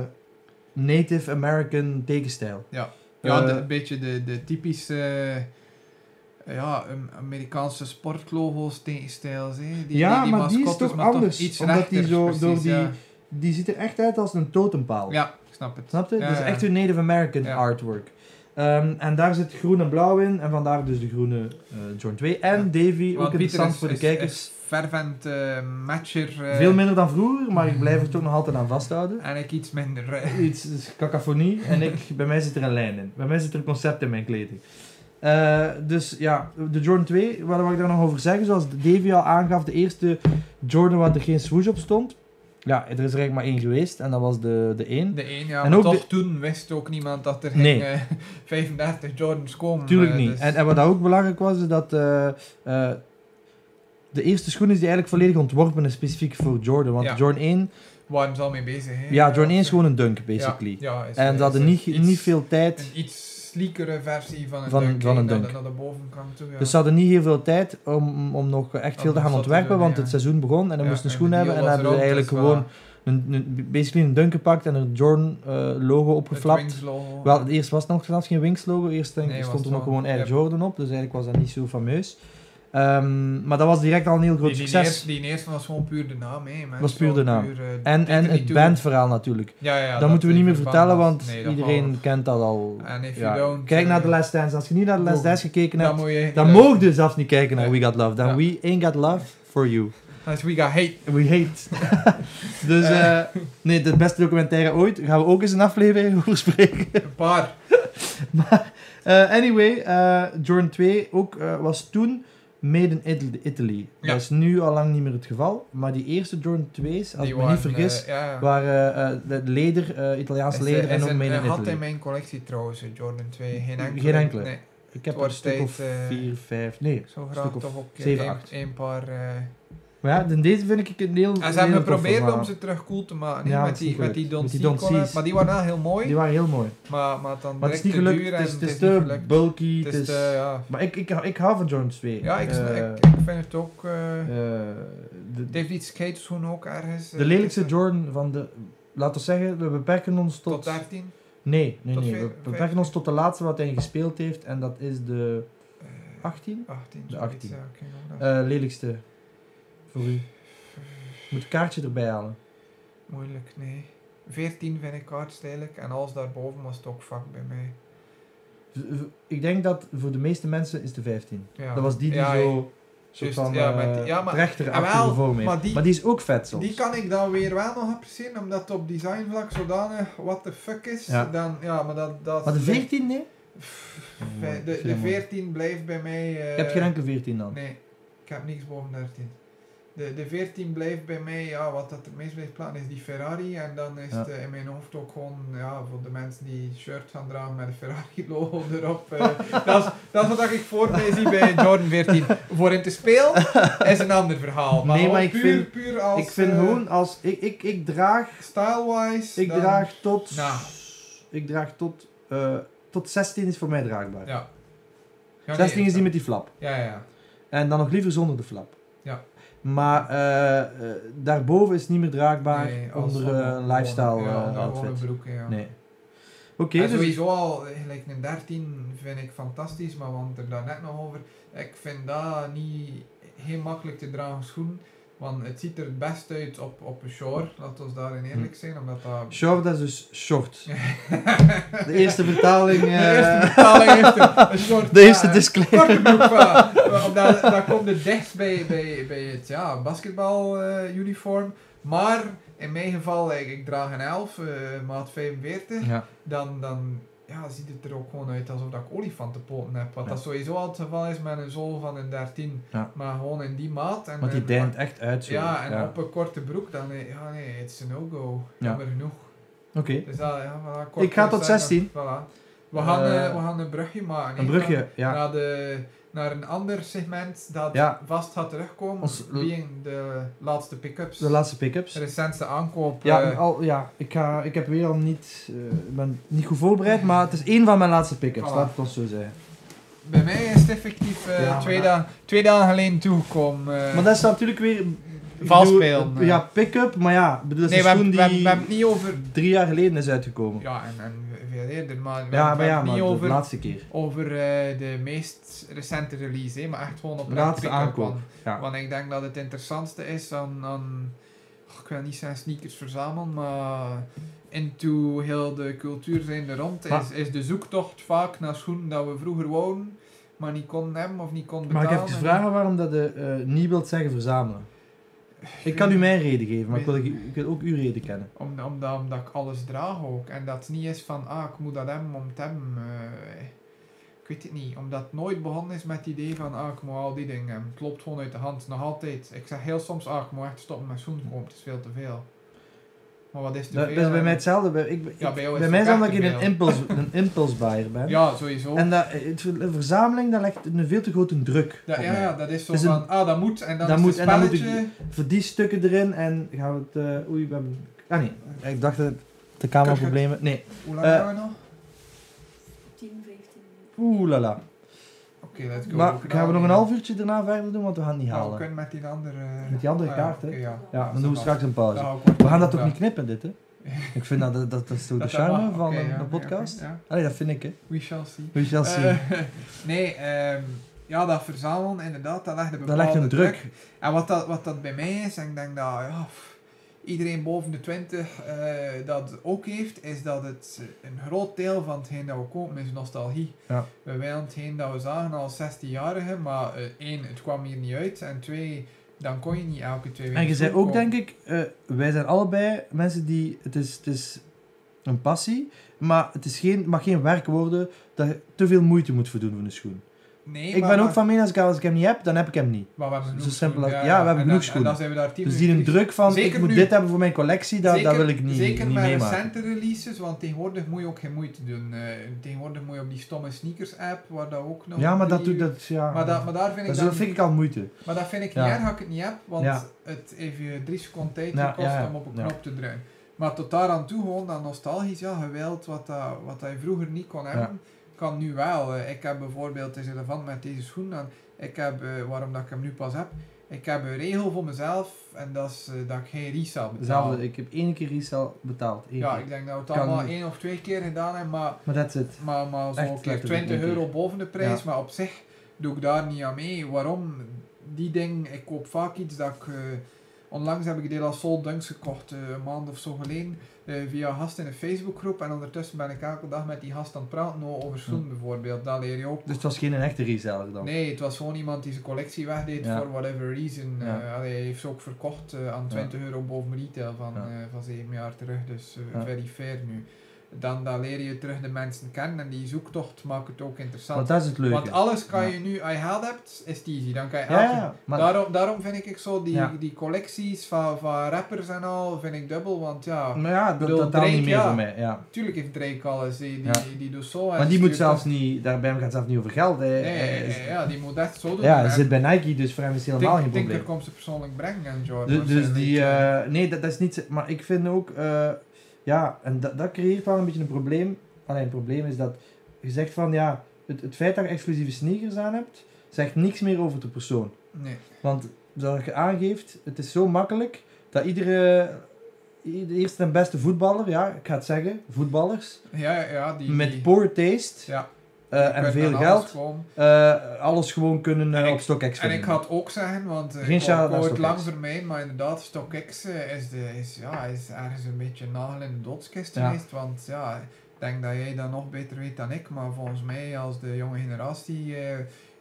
Native American tekenstijl. ja, eh, de- een beetje de, de typische eh, ja, Am- Amerikaanse sportlogo's, tegenstijls. hè. Die, Ja, die, die maar die is mascottes, toch maar anders, iets omdat die rechters, zo precies, door die- Ja. Die ziet er echt uit als een totempaal. ja, ik snap het. Snap je? Ja, dat ja. is echt hun Native American Ja. artwork. Ehm, en daar zit groen en blauw in, en vandaar dus de groene eh John 2. En Davy, ook Want Pieter interessant is, voor de is, kijkers. is fervent eh, matcher. eh, Veel minder dan vroeger, maar ik blijf <laughs> er toch nog altijd aan vasthouden. En ik iets minder. eh. Iets is cacophonie en ik, bij mij zit er een lijn in. Bij mij zit er een concept in mijn kleding. Eh, dus ja, de Jordan 2, wat wil ik daar nog over zeggen? Zoals Davy al aangaf, de eerste Jordan waar er geen swoosh op stond. Ja, er is er eigenlijk maar één geweest en dat was de, de 1. De een, ja. En maar ook toch de- toen wist ook niemand dat er Nee. ging, eh, <laughs> 35 Jordans komen. Tuurlijk eh, niet. dus- En, en wat ook belangrijk was, is dat eh, eh, de eerste schoen is die eigenlijk volledig ontworpen is specifiek voor Jordan. Want Ja. Jordan 1, Waar ze al mee bezig hè? ja, Jordan 1 is eh, gewoon een dunk, ja, basically. ja, is- En is ze hadden een niet, iets- niet veel tijd. Een iets sleekere versie van een Van- dunk. van hè, een naar de- dunk. Naar de bovenkant toe, ja. Dus ze hadden niet heel veel tijd om, om nog echt veel Om te nog gaan wat te ontwerpen, doen, want ja. het seizoen begon en dan Ja, moesten en schoen de hebben. En deal dan was hebben ze rond, eigenlijk dus gewoon voilà, een, een- basically een dunk gepakt en een Jordan eh, logo het opgeflapt. Wings logo. Wel, het eerst was het nog zelfs geen Wings logo. Eerst denk ik, Nee, was stond er het nog wel. gewoon Air Yep. Jordan op, dus eigenlijk was dat niet zo fameus. Ehm, maar dat was direct al een heel groot die, die, succes. eerste, die eerste was gewoon puur de naam, hè. maar Was zo puur de naam. puur, eh, En, deed er en niet het toe. bandverhaal natuurlijk. Ja, ja, dat moeten we niet meer in verband vertellen, was. want Nee, dat iedereen gaan kent dat al. we- En if Ja. you don't... Kijk naar eh, de Last Dance. Als je niet naar de Last Google. Dance gekeken Dan hebt, moet je... dan mogen je zelf niet kijken naar Nee. We Got Love. Dan Ja. We Ain't Got Love for You. Als we got hate. We hate. <laughs> dus eh, nee, de beste documentaire ooit. Daar gaan we ook eens een aflevering <laughs> over spreken. Een paar. maar eh, anyway, eh, Jordan 2 ook, eh, was toen made in Italy. Italy. Ja. Dat is nu al lang niet meer het geval. Maar die eerste Jordan 2's, als die ik me niet waren, eh, vergis, ja. waren eh, eh, de leder, eh, Italiaans Is, leder eh, en is ook een- made in Hij had Italy. in mijn collectie trouwens, een Jordan 2. Geen enkele. Geen enkele. Nee, Ik heb er een wordt stuk of steeds, eh, 4, 5, nee. ik zou Een graag stuk of toch ook eh, zeven, een, acht. een paar... eh, Maar ja, dan deze vind ik een heel En Ah, ze een hebben heel tof geprobeerd verhaal. om ze terug cool te maken. hè, Ja, met, het is die, niet met gelukt. die Don't Met die See Don't collab. Sees. Maar die waren wel heel mooi. Die waren heel mooi. Maar, maar dan Maar het is niet direct te gelukt, duur het is, en het is niet te gelukt. bulky, Het is te, ja. Maar ik, ik, ik hou van Jordan 2. Ja, ik, Eh, ik, ik vind het ook... eh, eh, het de, heeft iets skateschoen ook ergens. eh, de lelijkste tussen- Jordan van de... Laten we zeggen, we beperken ons tot... Tot 13. nee, nee, tot nee. veer- We beperken ons tot de laatste wat hij gespeeld heeft. En dat is de eh, 18? 18. De zoiets, 18. ja, oké, nou, dat is Eh, lelijkste. Voor u. Moet een kaartje erbij halen. Moeilijk, nee. 14 vind ik hard stijlijk. En alles daarboven was het ook vak bij mij. V- v- Ik denk dat voor de meeste mensen is de 15. Ja. Dat was die die Ja, zo... Soort juist, van ja, ja, met die- ja, maar- rechterachtige jawel, vorm heeft. maar Maar die- die, is ook vet soms. Die kan ik dan weer wel nog appreciëren, omdat het op designvlak zodanig what the fuck is. Ja. Dan, ja, maar dat, dat maar de 14, nee? Pff, Ja, mooi. de, Ik de, vind hem mooi. 14 blijft bij mij... eh, Je hebt geen enkele 14 dan. Nee, ik heb niks boven 13. De, de 14 blijft bij mij, ja, wat dat het meest blijft plaatsen is die Ferrari. En dan is Ja. het eh, in mijn hoofd ook gewoon, ja, voor de mensen die een shirt gaan dragen met een Ferrari-logo <laughs> erop. <laughs> eh, dat, is, dat is wat ik voor mij zie bij Jordan 14. Voor hem te spelen is een ander verhaal. Maar, Nee, maar gewoon ik puur, vind- puur als ik vind eh, gewoon als. Ik, ik, ik draag. Style-wise. Ik dan- draag tot. Nou. Ik draag tot. eh, tot 16 is voor mij draagbaar. Ja. Ja, 16 nee, is die met die flap. Ja, ja, ja. En dan nog liever zonder de flap. Ja. Maar eh, eh, daarboven is het niet meer draagbaar Nee, als onder eh, gewoon- een lifestyle ja, eh, onder een gewone outfit. broek, ja. Nee. Oké, en dus. sowieso al, eh, gelijk een 13 vind ik fantastisch, maar want er daarnet nog over, ik vind dat niet heel makkelijk te dragen schoen, want het ziet er het best uit op, op een shore, laten we daarin eerlijk zijn, omdat dat... Hm. Short, dat is dus <laughs> short. De eerste vertaling. De eerste eh, betaling heeft <laughs> een- een short... de eerste ja, disclaimer. Korte broek, ja. Omdat, dat komt het dichtst bij, bij, bij het ja, basketbaluniform. maar in mijn geval, ik, ik draag een 11, eh, maat 45. Ja. dan, dan ja, ziet het er ook gewoon uit alsof dat ik olifantenpoten heb. Wat Ja. dat sowieso al het geval is met een zool van een 13. Ja. Maar gewoon in die maat. En, Want die en- deint echt uit. Zo. Ja, en op een korte broek dan, eh, ja nee, het is een no-go. Ja. Jammer genoeg. Oké. Dus dat, ja, voilà, Ik ga kort tot zijn, 16. dan- Voilà. We gaan, Eh, eh, we gaan een brugje maken. Een hè, brugje, van- ja. Naar, de, naar een ander segment dat Ja. vast gaat terugkomen. Ons- being de laatste pick-ups. De laatste pick-ups. recentste aankoop. Ja, eh, al, ja ik, ga, ik heb weer al niet, eh, ik ben niet goed voorbereid, maar het is één van mijn laatste pick-ups, Voilà. laat het ons zo zeggen. bij mij is het effectief eh, Ja, maar twee, dat- dagen- twee dagen geleden toegekomen. eh. Maar dat is natuurlijk weer... ik Valspeel, bedoel, eh, nee. Ja, pick-up, maar ja, ik bedoel, dat is nee, we een schoen hebben, we, hebben, die we hebben het niet over. drie jaar geleden is uitgekomen. Ja, Ja, en, en veel eerder, maar we maar hebben ja, het maar niet de over, laatste keer. over eh, de meest recente release, hè, maar echt gewoon op Laatste aankoop, Want, ja. want ik denk dat het interessantste is aan. aan och, ik wil niet zijn sneakers verzamelen, maar into heel de cultuur zijn er rond. Maar- Is, is de zoektocht vaak naar schoenen dat we vroeger wonen, maar niet konden hebben of niet konden Maar ik betalen. heb even vragen waarom dat je eh, niet wilt zeggen verzamelen. Ik kan u mijn reden geven, maar ik wil, ik wil ook uw reden kennen. Om, omdat, omdat ik alles draag ook. En dat het niet is van, ah, ik moet dat hebben om het te hebben. eh, ik weet het niet. Omdat het nooit begonnen is met het idee van, ah, ik moet al die dingen hebben. Het loopt gewoon uit de hand. Nog altijd. Ik zeg heel soms, ah, ik moet echt stoppen met schoenen kopen. Het is veel te veel. Maar wat is te Dat, veel? dat is bij En- mij hetzelfde. Bij, ik, ik- Ja, bij jou is mij het is dat echt omdat ik te een, veel. impuls, een impulsbuyer ben. Ja, sowieso. En dat, het, de verzameling dat legt een veel te grote druk dat, op ja, mij. ja, dat is zo Het is Dus een- van, ah, dat moet. En dan Dat is moet, het en dan moet ik- spelletje. Voor die stukken erin en gaan we het... eh, oei, we hebben... Ah nee, ik dacht dat de cameraproblemen... Nee, Hoe lang Eh, gaan we nog? 10, 15 minuten. oeh la la. Oké, let's go. Nou, Maar Ook gaan we nog dan- een half uurtje daarna verder doen, want we gaan het niet Ja, we halen. kunnen met die andere... Met die andere Ah, kaart, hè. oké, ja. Ja, dat dan doen we kan. straks een pauze. Ja, kort. We gaan dat toch Ja. niet knippen, dit hè? Ik vind dat, dat, dat is toch de Dat dat charme mag. van Oké, een, ja, een ja, podcast. oké, ja. Allee, dat vind ik hè. We shall see. We shall see. Eh, <laughs> nee, ehm, ja, dat verzamelen inderdaad, dat legt een dat bepaalde legt een druk. En wat dat, wat dat bij mij is, en ik denk dat ja, pff, iedereen boven de 20 eh, dat ook heeft, is dat het eh, een groot deel van hetgeen dat we kopen is nostalgie. Ja. We willen hetgeen dat we zagen als 16-jarige, maar eh, één, het kwam hier niet uit, en twee, dan kon je niet elke twee weken En je zei goed ook, kopen. denk ik, eh, wij zijn allebei mensen die. Het is, het is een passie, maar het is geen, het mag geen werk worden dat je te veel moeite moet voor doen voor een schoen. Nee, ik maar- ben ook maar- van mening als ik, als ik hem niet heb, dan heb ik hem niet. Maar we hebben Zo genoeg simpel als- schoenen, ja, we hebben en genoeg dan- schoenen. En dan zijn we daar tien Dus die een minuten- druk van, Zeker ik moet nu. dit hebben voor mijn collectie, dat, dat wil ik niet, Zeker niet met meemaken. recente releases, want tegenwoordig moet je ook geen moeite doen. Eh, tegenwoordig moet je op die stomme sneakers-app, waar dat ook nog... Ja, maar dat die- doet dat. Ja. Maar, dat, maar daar vind ik, dat dan, vind ik al moeite. maar dat vind ik Ja. niet erg dat ik het niet heb, want Ja. het heeft je drie seconden tijd Ja, gekost ja, ja. om op een Ja. knop te drukken. Maar tot daar aan toe, gewoon dat nostalgisch, ja, geweld, wat, dat, wat dat je vroeger niet kon hebben, kan nu wel. Eh, ik heb bijvoorbeeld, het is relevant met deze schoen dan, ik heb, eh, waarom dat ik hem nu pas heb, ik heb een regel voor mezelf, en dat is eh, dat ik geen resale betaal. Hetzelfde, ik heb één keer resell betaald. één Ja, keer. ik denk dat we het Kan allemaal niet. één of twee keer gedaan hebben, maar, Maar dat is het. maar, maar Echt zo'n keer letterlijk 20 één keer. euro boven de prijs. Ja. Maar op zich doe ik daar niet aan mee. Waarom? Die ding, ik koop vaak iets dat ik... eh, onlangs heb ik deel als Soul Dunks gekocht, eh, een maand of zo geleden, eh, via een gast in een Facebookgroep. En ondertussen ben ik elke dag met die gast aan het praten o- over Hm. schoenen bijvoorbeeld. Dat leer je ook. Dus het was geen een echte reseller dan. Nee, het was gewoon iemand die zijn collectie wegdeed Ja. voor whatever reason. Ja. Eh, allee, hij heeft ze ook verkocht eh, aan Ja. 20 euro boven retail van, Ja. eh, van 7 jaar terug, dus eh, Ja. very fair nu. Dan, dan leer je terug de mensen kennen en die zoektocht maakt het ook interessant. Want dat is het leuke. Want alles kan Ja. je nu, als je geld hebt, is het easy. Dan kan je ja, elke- ja, maar daarom, daarom vind ik zo die, Ja. die collecties van, van rappers en al, vind ik dubbel, want ja, maar ja, dat, bedoel, dat telt niet Drake, meer ja. voor mij. Ja. natuurlijk heeft Drake alles, die, die, Ja. die doet zo. en Maar die moet stuurt zelfs dat- niet, daar bij hem gaat het zelfs niet over geld. Hij, Nee, hij ja, is- ja, ja, die moet echt zo doen. ja, hij En- zit bij Nike, dus voor hem is het helemaal geen Ik denk probleem. dat komt ze persoonlijk brengen aan Jordan. Dus, dus die, eh, nee, dat, dat is niet. Maar ik vind ook, eh, ja, en dat, dat creëert wel een beetje een probleem. Alleen een probleem is dat je zegt van ja, het, het feit dat je exclusieve sneakers aan hebt, zegt niks meer over de persoon. Nee. Want zoals je aangeeft, het is zo makkelijk dat iedere. De eerste en beste voetballer, ja, ik ga het zeggen, voetballers, Ja, ja, ja, die... die- met poor taste ja, eh, die en kunnen veel aan geld, alles komen. eh, alles gewoon kunnen eh, En ik- op StockX En ik vinden. had ook zeggen, want eh, Geen ik shout-out wou naar het StockX. lang vermijden, maar inderdaad, StockX eh, is, de, is, ja, is ergens een beetje een nagel in de doodskist Ja. geweest, want ja, ik denk dat jij dat nog beter weet dan ik, maar volgens mij als de jonge generatie eh,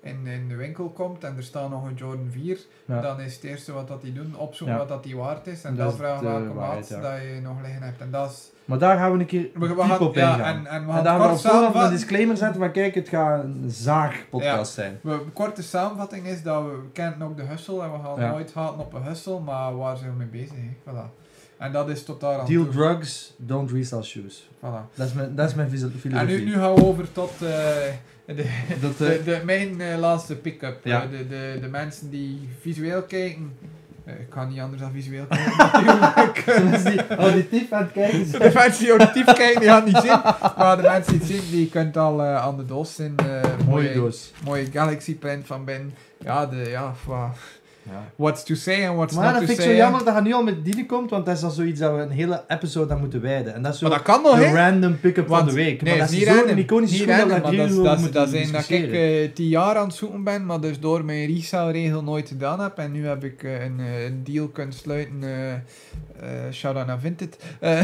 in, in de winkel komt en er staat nog een Jordan 4, Ja. dan is het eerste wat dat die doen, opzoeken Ja. wat dat die waard is en Dat dan is vragen de welke maat waarheid, ja. dat je nog liggen hebt. En dat is... Maar daar gaan we een keer We, we diep gaan- op ingaan. ja, en, en we en daar gaan gaan we kort op voorhand een samenvatten. disclaimer zetten, maar kijk, het gaat een zaagpodcast zijn. We, korte samenvatting is dat we kennen ook de hustle en we gaan Ja. nooit haten op een hustle, maar waar zijn we mee bezig? hè? Voilà. En dat is tot daar aan Deal toe. drugs, don't resell shoes. Voilà. Dat is mijn, dat is mijn fis- filosofie. En nu, nu gaan we over tot eh, de, <laughs> Dat, eh, <laughs> de, de, mijn eh, laatste pick-up. Ja. Eh, de, de, de mensen die visueel kijken. Eh, ik kan niet anders dan visueel kijken. <laughs> <laughs> natuurlijk. de mensen die <laughs> auditief aan het kijken zijn. de mensen die auditief kijken, die gaan het niet zien. Maar de mensen die het zien, die kunt al eh, aan de doos zien. eh, Mooie doos. Mooie galaxy print van Ben. Ja, de, ja, wa- what's to say and what's Maar not dat to vind ik say. zo hè. jammer dat hij nu al met Dine komt, want dat is dan zoiets dat we een hele episode aan moeten wijden. En dat is zo Maar dat kan nog, de hè? random pick-up van Want- de week. Nee, maar dat is niet zo'n random. iconische Niet schoen dat we random, daar maar drie dat is, uur dat over moeten is, dat is een dat ik discussiëren. eh, tien jaar aan het zoeken ben, maar dus door mijn resale-regel nooit gedaan heb. En nu heb ik eh, een eh, deal kunnen sluiten. eh eh Shout-out naar Vinted. Eh,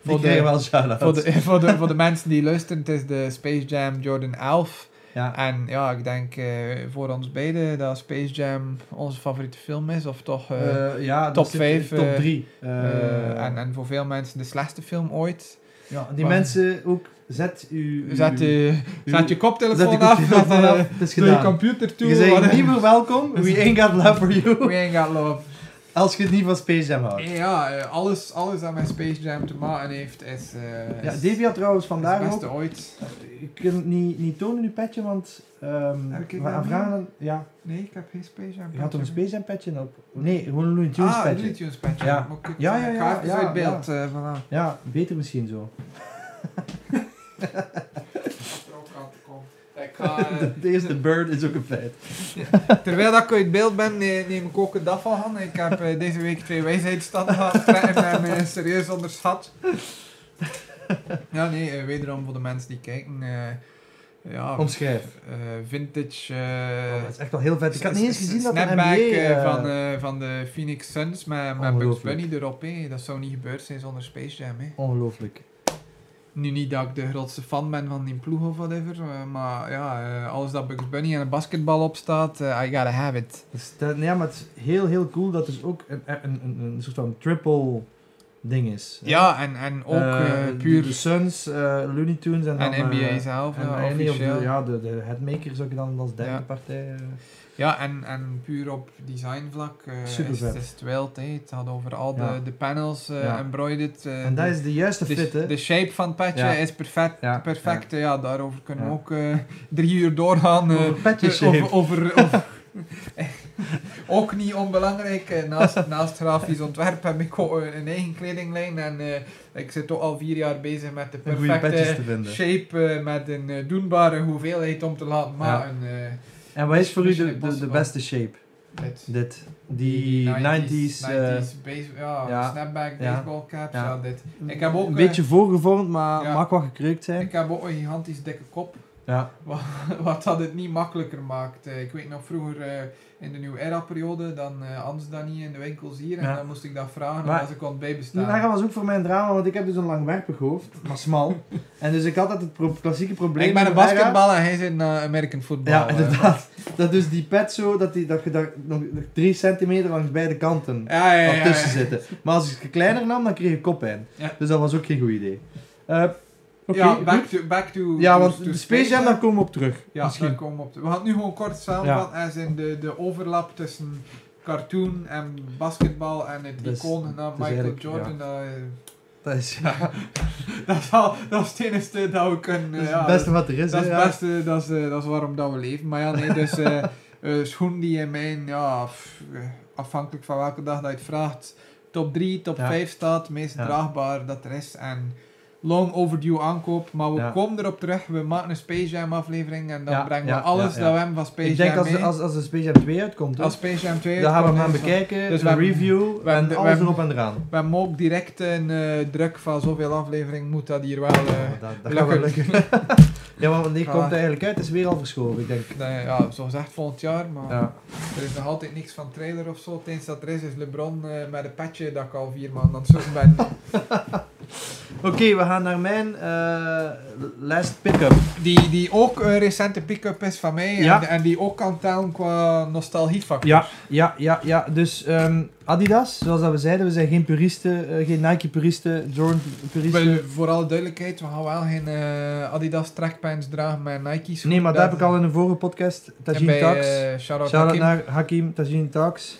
<laughs> Die krijgen wel shout-outs. voor, de, voor, de, voor de mensen die luisteren, het is de Space Jam Jordan 11. Ja. En ja, ik denk eh, voor ons beiden dat Space Jam onze favoriete film is, of toch... eh, Eh, ja, dat top zit- vijf, Top eh, 3. eh, en, en voor veel mensen de slechtste film ooit. die maar- mensen ook, zet u... Zet, je zet je koptelefoon zet af, je koptelefoon zet, eh, <laughs> af, het is doe je gedaan. computer toe. Je zegt whatever. <laughs> niet meer welkom, we ain't got love for you. We ain't got love. Als je het niet van Space Jam houdt. Ja, eh, alles, alles dat met Space Jam te maken heeft is, eh Ja, is- Davy had trouwens is vandaag het ook... beste ooit. Ik kan het niet, niet tonen, uw petje, want... ehm Heb ik we dat gaan niet? vragen... Ja, Nee, ik heb geen Space Jam. je had toch een patch. Space Jam petje op? Nee, gewoon een Looney Tunes Ah, een Looney petje. Tunes patch. Ja. Maar ik- Ja, ja, ik ja, ga even ja, uit beeld. eh voilà. Ja, beter misschien zo. Er ook aan te komen. Ik ga, eh, <laughs> De eerste bird is ook een feit. terwijl dat ik uit beeld ben, ne- neem ik ook een dag van Han. Ik heb eh, deze week twee wijsheidsstanden gehad <laughs> en ben eh, serieus onderschat. Ja, nee, eh, wederom voor de mensen die kijken. eh, ja, Omschrijf. eh, vintage. eh, Oh, dat is echt wel heel vet. Ik had niet eens s- s- gezien dat een NBA... snapback, eh, eh, van, eh, van de Phoenix Suns met, met Bugs Ongelooflijk. Bunny erop. hè. Dat zou niet gebeurd zijn zonder Space Jam. eh, hè. Ongelooflijk. Nu niet dat ik de grootste fan ben van die ploeg of whatever. eh, maar ja, eh, alles dat Bugs Bunny en een basketbal op staat, eh, I gotta have it. Dus dat, ja, maar het is heel, heel cool dat dus ook een, een, een, een soort van triple ding is. Ja, en, en ook Eh, eh, de- De puur. Suns, eh, Looney Tunes en, dan... En NBA eh, zelf, en- ja, en nee, of de- officieel. Ja, ja, de, de headmakers ook dan als derde Ja. partij. eh. en, en puur op designvlak eh is, Supervet. is het wild. hè. Het had over al Ja. de, de panels, eh Ja. embroidered. eh, en dat de- is de juiste de, fit, hè. de shape van het petje Ja. is perfect. Ja, perfect. eh, Ja. daarover kunnen we Ja. ook eh, drie uur doorgaan. eh, Over petje shape. over, over, <laughs> over- <laughs> ook niet onbelangrijk. eh, naast, naast grafisch ontwerp heb ik ook een eigen kledinglijn. En eh, ik zit toch al vier jaar bezig met de Om goede petjes perfecte te vinden. shape eh, met een eh, doenbare hoeveelheid om te laten maken. eh, En wat is voor u de, Mission de, de Impossible. beste shape? dit. Dit. Die 90s. eh, 90s base- ja, ja. snapback, Ja. baseball caps, Ja. ja, dit. Ik heb ook, Een eh, beetje voorgevormd, maar ja. mag wel gekreukt zijn. Ik heb ook een gigantisch dikke kop. <laughs> Ja. Wat, wat dat het niet makkelijker maakt. Eh, ik weet nog vroeger eh, in de New Era-periode, dan eh anders dan niet in de winkels hier. En Ja. dan moest ik dat vragen Maar- als ik kon bijbestaan. Dat was ook voor mijn drama, want ik heb dus een langwerpig hoofd, maar <laughs> smal. en dus ik had altijd het pro- klassieke probleem. ik ben een met mijn haar- basketbal en hij zit naar American football. eh. Ja, hè. inderdaad. Dat dus die pet zo, dat, die, dat je daar nog 3 centimeter langs beide kanten Ja, ja, ja. ja. tussen zitten. Maar als ik het kleiner nam, dan kreeg ik koppijn. Ja. Dus dat was ook geen goed idee. Eh, Oké, ja, goed. back to, back to, ja, to- want to de Space Jam, daar komen we op terug. Ja, daar Misschien. komen we op. te- We gaan het nu gewoon kort samenvatten. Er zijn de, de overlap tussen cartoon en basketbal en het Dus, icoon genaamd dus Michael eigenlijk, Jordan. dat, eh, Dat is, <laughs> dat, is al, dat is het enige dat we kunnen... dat is eh, ja, het beste wat er is. Dat is hè, het ja. beste, dat is, eh, dat is waarom dat we leven. Maar ja, nee, dus eh <laughs> eh, schoen die in mijn, ja, f- eh, afhankelijk van welke dag dat je het vraagt, top 3, top Ja. 5 staat, meest Ja. draagbaar dat er is. En long overdue aankoop, maar we Ja. komen erop terug. We maken een Space Jam aflevering en dan Ja, brengen ja, we alles ja, ja. dat we hebben van Space Ik denk Jam als, mee. als, als de Space Jam 2 uitkomt, hoor. Als Space Jam 2 dan gaan we hem uitkomt, gaan is dat- bekijken, dus we een hebben- review we en hebben- we alles hebben- erop en eraan. We hebben ook direct een eh, druk van zoveel aflevering moet dat hier wel... eh, Ja, dat dat gaat wel lukken. lukken. <laughs> ja, maar wanneer Voilà. komt het eigenlijk uit? Het is weer al verschoven, ik denk. dat- ja, zo gezegd volgend jaar, maar... Ja. Er is nog altijd niks van trailer of zo. Het <laughs> enige dat er is, is LeBron eh, met een petje dat ik al vier maanden aan het zoeken ben. Oké, we gaan naar mijn eh last pick-up. Die, die ook een recente pick-up is van mij. Ja. En, en die ook kan tellen qua nostalgiefactor. Ja, ja, ja, ja. Dus ehm, Adidas, zoals dat we zeiden, we zijn geen puristen, eh, geen Nike-puristen, Jordan-puristen. Wel, voor alle duidelijkheid, we gaan wel geen eh, Adidas trackpants dragen met Nike's. eh, Nee, maar dat heb ik al in een vorige podcast. en Tajin bij, Talks. eh, shout-out Shout-out Hakim. naar Hakim, Tajin <laughs> Talks.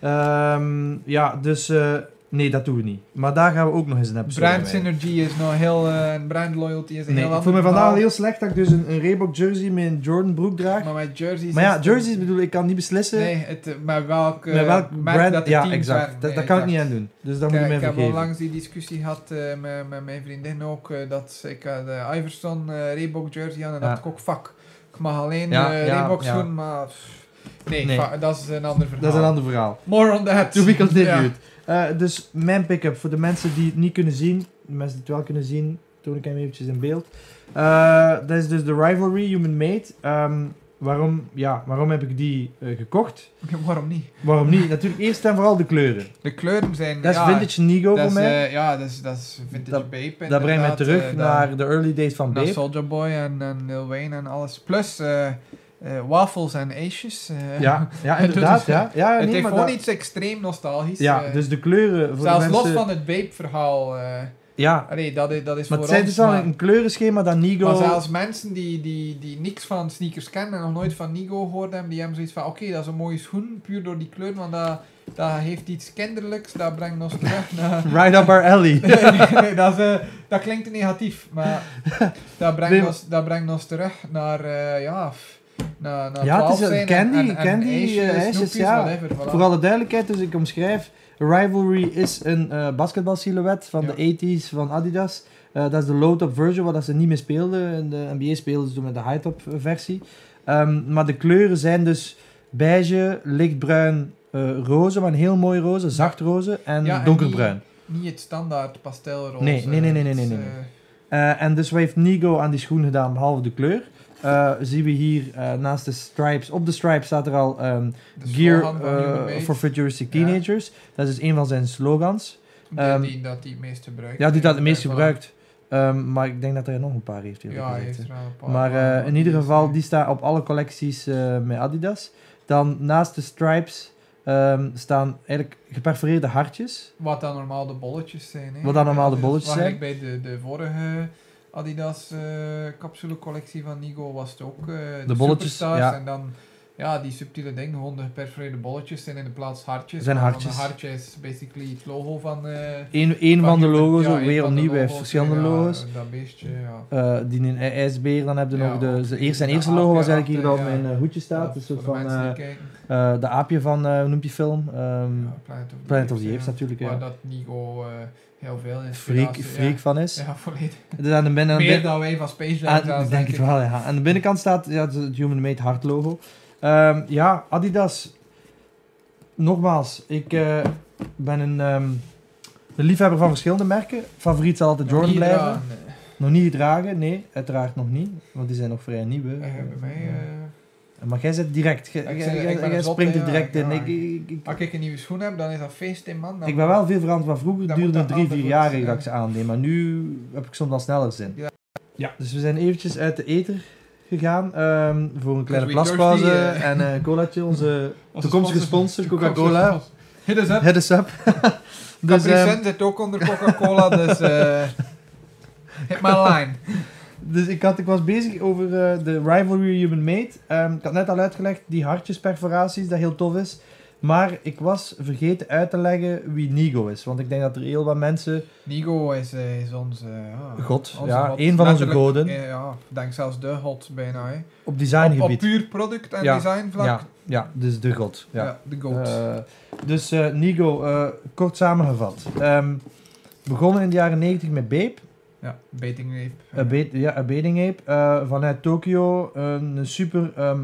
Ehm, ja, dus eh, nee, dat doen we niet. Maar daar gaan we ook nog eens een episode Brand bij. synergy is nog heel... eh, en brand loyalty is een Nee, heel ik ander voel me vandaag verhaal. al heel slecht dat ik dus een, een Reebok jersey met een Jordan broek draag. Maar met jerseys... Maar is ja, het- jerseys bedoel ik, kan niet beslissen Nee, het, maar welk, eh, met welk merk brand. dat de ja, teams exact. waren. Dat, Nee, dat kan ik exact. niet aan doen. Dus dat Ik, moet je eh, mij ik heb al vergeven. langs die discussie gehad eh, met, met mijn vriendin ook, eh, dat ik had de Iverson eh, Reebok jersey aan en Ja. dacht ik ook, fuck, ik mag alleen Ja, eh, ja, Reebok ja. schoen, maar pff, nee, Nee. fa- dat is een ander verhaal. Dat is een ander verhaal. More on that. To be continued. <laughs> Ja. Eh, dus mijn pick-up voor de mensen die het niet kunnen zien. De mensen die het wel kunnen zien, toon ik hem eventjes in beeld. Eh, Dat is dus de Rivalry Human Made. Ehm, waarom, ja, waarom heb ik die eh, gekocht? Waarom niet? Waarom niet? Natuurlijk eerst en vooral de kleuren. De kleuren zijn... Dat is ja, vintage Nigo dat voor is, mij. eh, ja, dat is, dat is vintage Dat- Bape dat brengt mij inderdaad, terug eh, naar de early days van naar Babe. Soulja Boy en, en Lil Wayne en alles. Plus eh, eh, wafels en Aces. eh. Ja, ja <laughs> Het inderdaad. doet- Ja. Ja, het nee, heeft maar gewoon dat- iets extreem nostalgisch. ja, eh. dus de kleuren voor Zelfs de mensen... los van het Bape-verhaal. eh, Ja, allee, dat is, dat is maar het voor zijn ons, dus wel maar- een kleurenschema dat Nigo... maar zelfs mensen die, die, die niks van sneakers kennen en nog nooit van Nigo gehoord hebben, die hebben zoiets van, oké, dat is een mooie schoen, puur door die kleur, want dat, dat heeft iets kinderlijks, dat brengt ons terug naar... <laughs> Right up our alley. <laughs> nee, dat, is, eh, dat klinkt te negatief, maar dat brengt, Nee, maar- ons, dat brengt ons terug naar, eh, ja, f- naar, naar Ja, het 12 is een zijn candy- en, en, candy, en ijsjes, eh, ijsjes, snoepjes, ja. whatever, voilà. Voor alle duidelijkheid, dus ik omschrijf. Rivalry is een eh basketbalsilhouet van Ja. de 80s van Adidas. Eh, dat is de low-top version, wat dat ze niet meer speelden. In de NBA speelden ze toen met de high-top versie. Ehm, maar de kleuren zijn dus beige, lichtbruin, eh, roze, maar een heel mooi roze, zacht roze en Ja, en donkerbruin. Niet het standaard pastelroze. Nee, nee, nee, nee, nee, nee, iets, nee. eh, Eh, en dus wat heeft Nigo aan die schoen gedaan, behalve de kleur? Eh, zien we hier eh, naast de stripes, op de stripes staat er al ehm, de Gear slogan van eh, Human Made. for Futuristic Ja. Teenagers. Dat is dus een van zijn slogans. Die, Ehm, die dat die het meest gebruikt. Ja, die dat het meest Ja, voilà. gebruikt. Ehm, maar ik denk dat hij er nog een paar heeft. eerlijk Ja, hij gezegd, heeft hè. er wel een paar. maar eh, in die ieder is- geval, die staat op alle collecties eh, met Adidas. Dan naast de stripes ehm, staan eigenlijk geperforeerde hartjes. Wat dan normaal de bolletjes zijn. Hè? Wat dan normaal de Dus bolletjes waar ik bij de, de vorige Adidas eh capsulecollectie van Nigo was het ook. eh, de, bolletjes, superstars ja. En dan ja, die subtiele dingen, gewoon de geperforeerde bolletjes zijn in de plaats hartjes. Zijn Maar dan hartjes. De hartje is basically het logo van... eh Eén één van van de Human- logo's, ja, één weer van de opnieuw. Hij heeft logo's, verschillende ja, logo's. Dat beestje, ja. Eh, die in een ijsbeer, dan heb je Ja, nog de, ook. zijn eerste- zijn De eerste logo was eigenlijk hier dat op apen, ja. mijn eh, hoedje staat. Of Een soort voor de van mensen die eh, kijken. eh, de aapje van, eh, hoe noemt die film? Ehm, Ja, Planet of the Planet of the ja. Apes natuurlijk, ja. Waar dat Nigo eh, heel veel in Freak, freak van is. Ja, volledig. Dus aan de, ben- aan de, Meer dan wij van Space Jam Aan- zelfs, ik denk denk het ik. wel, ja. Aan de binnenkant staat ja, het- het Human Made Heart logo. Ehm, ja, Adidas. Nogmaals, ik eh, ben een, ehm, een liefhebber van verschillende merken. Favoriet zal altijd Nog Jordan niet blijven. gedaan. Nog niet gedragen? Nee, uiteraard nog niet. Want die zijn nog vrij nieuw. hè. Eh, bij mij, eh, Maar jij zit direct. Jij- ben- jij- ik jij- ben jij zot, springt er hè, direct ja, in. ja. Ik, ik, ik, als ik een nieuwe schoen heb, dan is dat feest in man. Dan ik ben wel veel veranderd van vroeger. Het Dan duurde moet dat drie, vier altijd jaar goed, dat ik ze aandeed. Maar nu heb ik soms al sneller zin. Ja. Ja, dus we zijn eventjes uit de ether gegaan ehm, voor een kleine we plaspauze thirsty, eh. en eh colaatje. Onze <laughs> Onze toekomstige sponsor, Coca-Cola. Hit us up. Head is up. <laughs> Dus, dus, ehm, zit ook onder <laughs> Coca-Cola, dus eh hit my line. dus ik, had, ik was bezig over eh, de Rivalry Human Made. Ehm, ik had net al uitgelegd die hartjesperforaties, dat heel tof is. Maar ik was vergeten uit te leggen wie Nigo is. Want ik denk dat er heel wat mensen... Nigo is, eh, is onze... ja, God, onze ja, één van onze Letterlijk, goden. eh, ja, ik denk zelfs de god bijna. Hè. Op Op, designgebied. puur product en Ja, design vlak. Ja, ja, dus de god. Ja. Ja, de goat. Eh, dus eh, Nigo, eh, kort samengevat. Ehm, begonnen in de jaren 90 met Babe, ja, eh, baiting ape. een bait- ja, een Bathing Ape, eh, vanuit Tokio. Een super ehm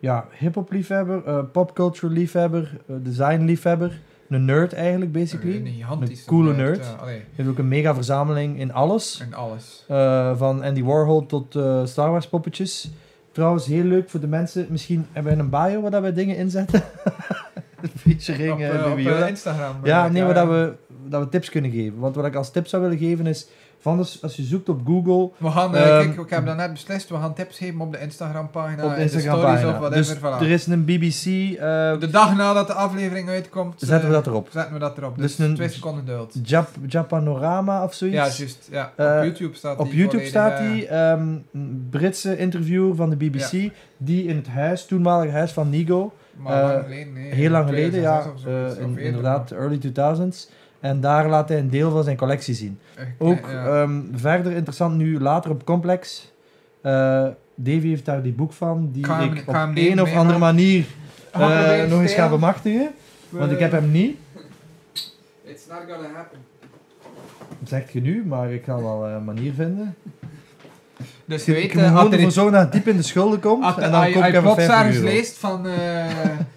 ja, hip-hop liefhebber, eh, popculture liefhebber, eh, design liefhebber. Een nerd eigenlijk, basically. Een gigantische Een coole nerd. Ja, eh, allee, Hij heeft ook een mega verzameling in alles. en alles. Eh, van Andy Warhol tot eh, Star Wars poppetjes. Trouwens, heel leuk voor de mensen. Misschien hebben we een bio <laughs> waar dat we dingen inzetten. Featuring op eh, eh, op Baby Yoda. eh, Instagram. Ja, eh, nee, maar dat we dat we tips kunnen geven. Want wat ik als tip zou willen geven is, van dus, als je zoekt op Google, We gaan, eh, Ehm, kijk, ik heb dat net beslist, we gaan tips geven op de Instagram-pagina, op de en Instagram-pagina. stories of dus whatever. voilà. er is een BBC, eh, De dag nadat de aflevering uitkomt, zetten we eh, dat erop. zetten we dat erop. Dus, Dus een- twee seconden geduld. Jap, Japanorama of zoiets. Ja, juist. Ja. Eh, op YouTube staat die Op YouTube volledig, staat eh, hij, ehm, een Britse interviewer van de BBC, die in het huis, toenmalig huis van Nigo, Maar lang eh, geleden, nee. heel lang geleden, 2006 ja, of zoiets, eh, of in- eerder, inderdaad, early 2000s. En daar laat hij een deel van zijn collectie zien. maar echt, Ook eh, ja. ehm, verder interessant nu, later op Complex. Eh, Davy heeft daar die boek van, die Ga hem- ik op ga hem een nemen, of andere hè, maar- manier eh, Ga proberen nog eens stelen. gaan bemachtigen. Want ik heb hem niet, It's not gonna happen. dat zegt je nu, maar ik ga wel eh, een manier vinden. Dus je Ik, weet, ik eh, moet gewoon had er ervoor iets- zo naar diep in de schulden komt had en dan hij kom ik hij even plots 50 ergens euro. leest van... eh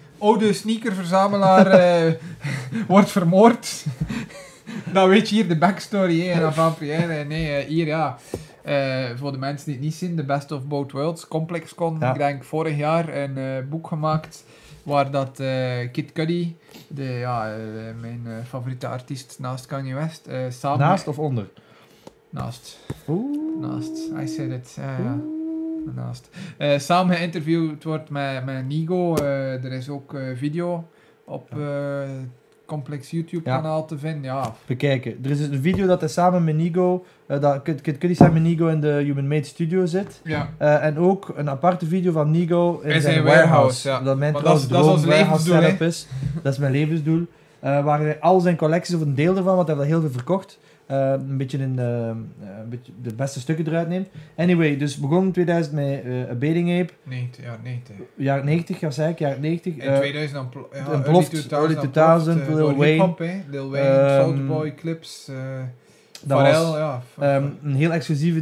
<laughs> oude sneakerverzamelaar eh <laughs> wordt vermoord. <laughs> dan weet je hier de backstory hè, en van Pierre. Nee, eh, hier ja. Eh, voor de mensen die het niet zien, de Best of Both Worlds. ComplexCon, Ja. ik denk vorig jaar, een eh, boek gemaakt waar dat eh, Kid Cudi, de, ja, eh, mijn eh, favoriete artiest naast Kanye West, eh, samen... Naast of onder? Nou, Naast. Oeh. Naast, I said it. eh. ja, ja. naast. Eh, samen geïnterviewd wordt met, met Nigo. Eh, er is ook eh, video op eh, Complex YouTube-kanaal te vinden. Ja, bekijken. Er is dus een video dat hij samen met Nigo, eh dat Kid Kid Cudi samen met Nigo in de Human Made Studio zit. ja. Eh, en ook een aparte video van Nigo in In zijn, zijn warehouse. warehouse, ja. Dat mijn Maar trouwens dat is- dat is ons droom warehouse setup levensdoel, is. Dat is mijn levensdoel. Eh, waar hij al zijn collecties, of een deel ervan, want hij heeft al heel veel verkocht. eh, een beetje in de, eh, een beetje de beste stukken eruit neemt. Anyway, dus begon in 2000 met eh A Baiting Ape. Nee, t- ja, nee. t- Jaar 90, ja, zei ik, jaar 90. In eh, 2000 dan pl- ja, ontploft, early 2000, eh, Lil door Wayne. hip-hop, hè. Lil Wayne, Ehm, Soulboy, Clips, eh dat Pharrell, was- ja. f- Ehm, een heel exclusieve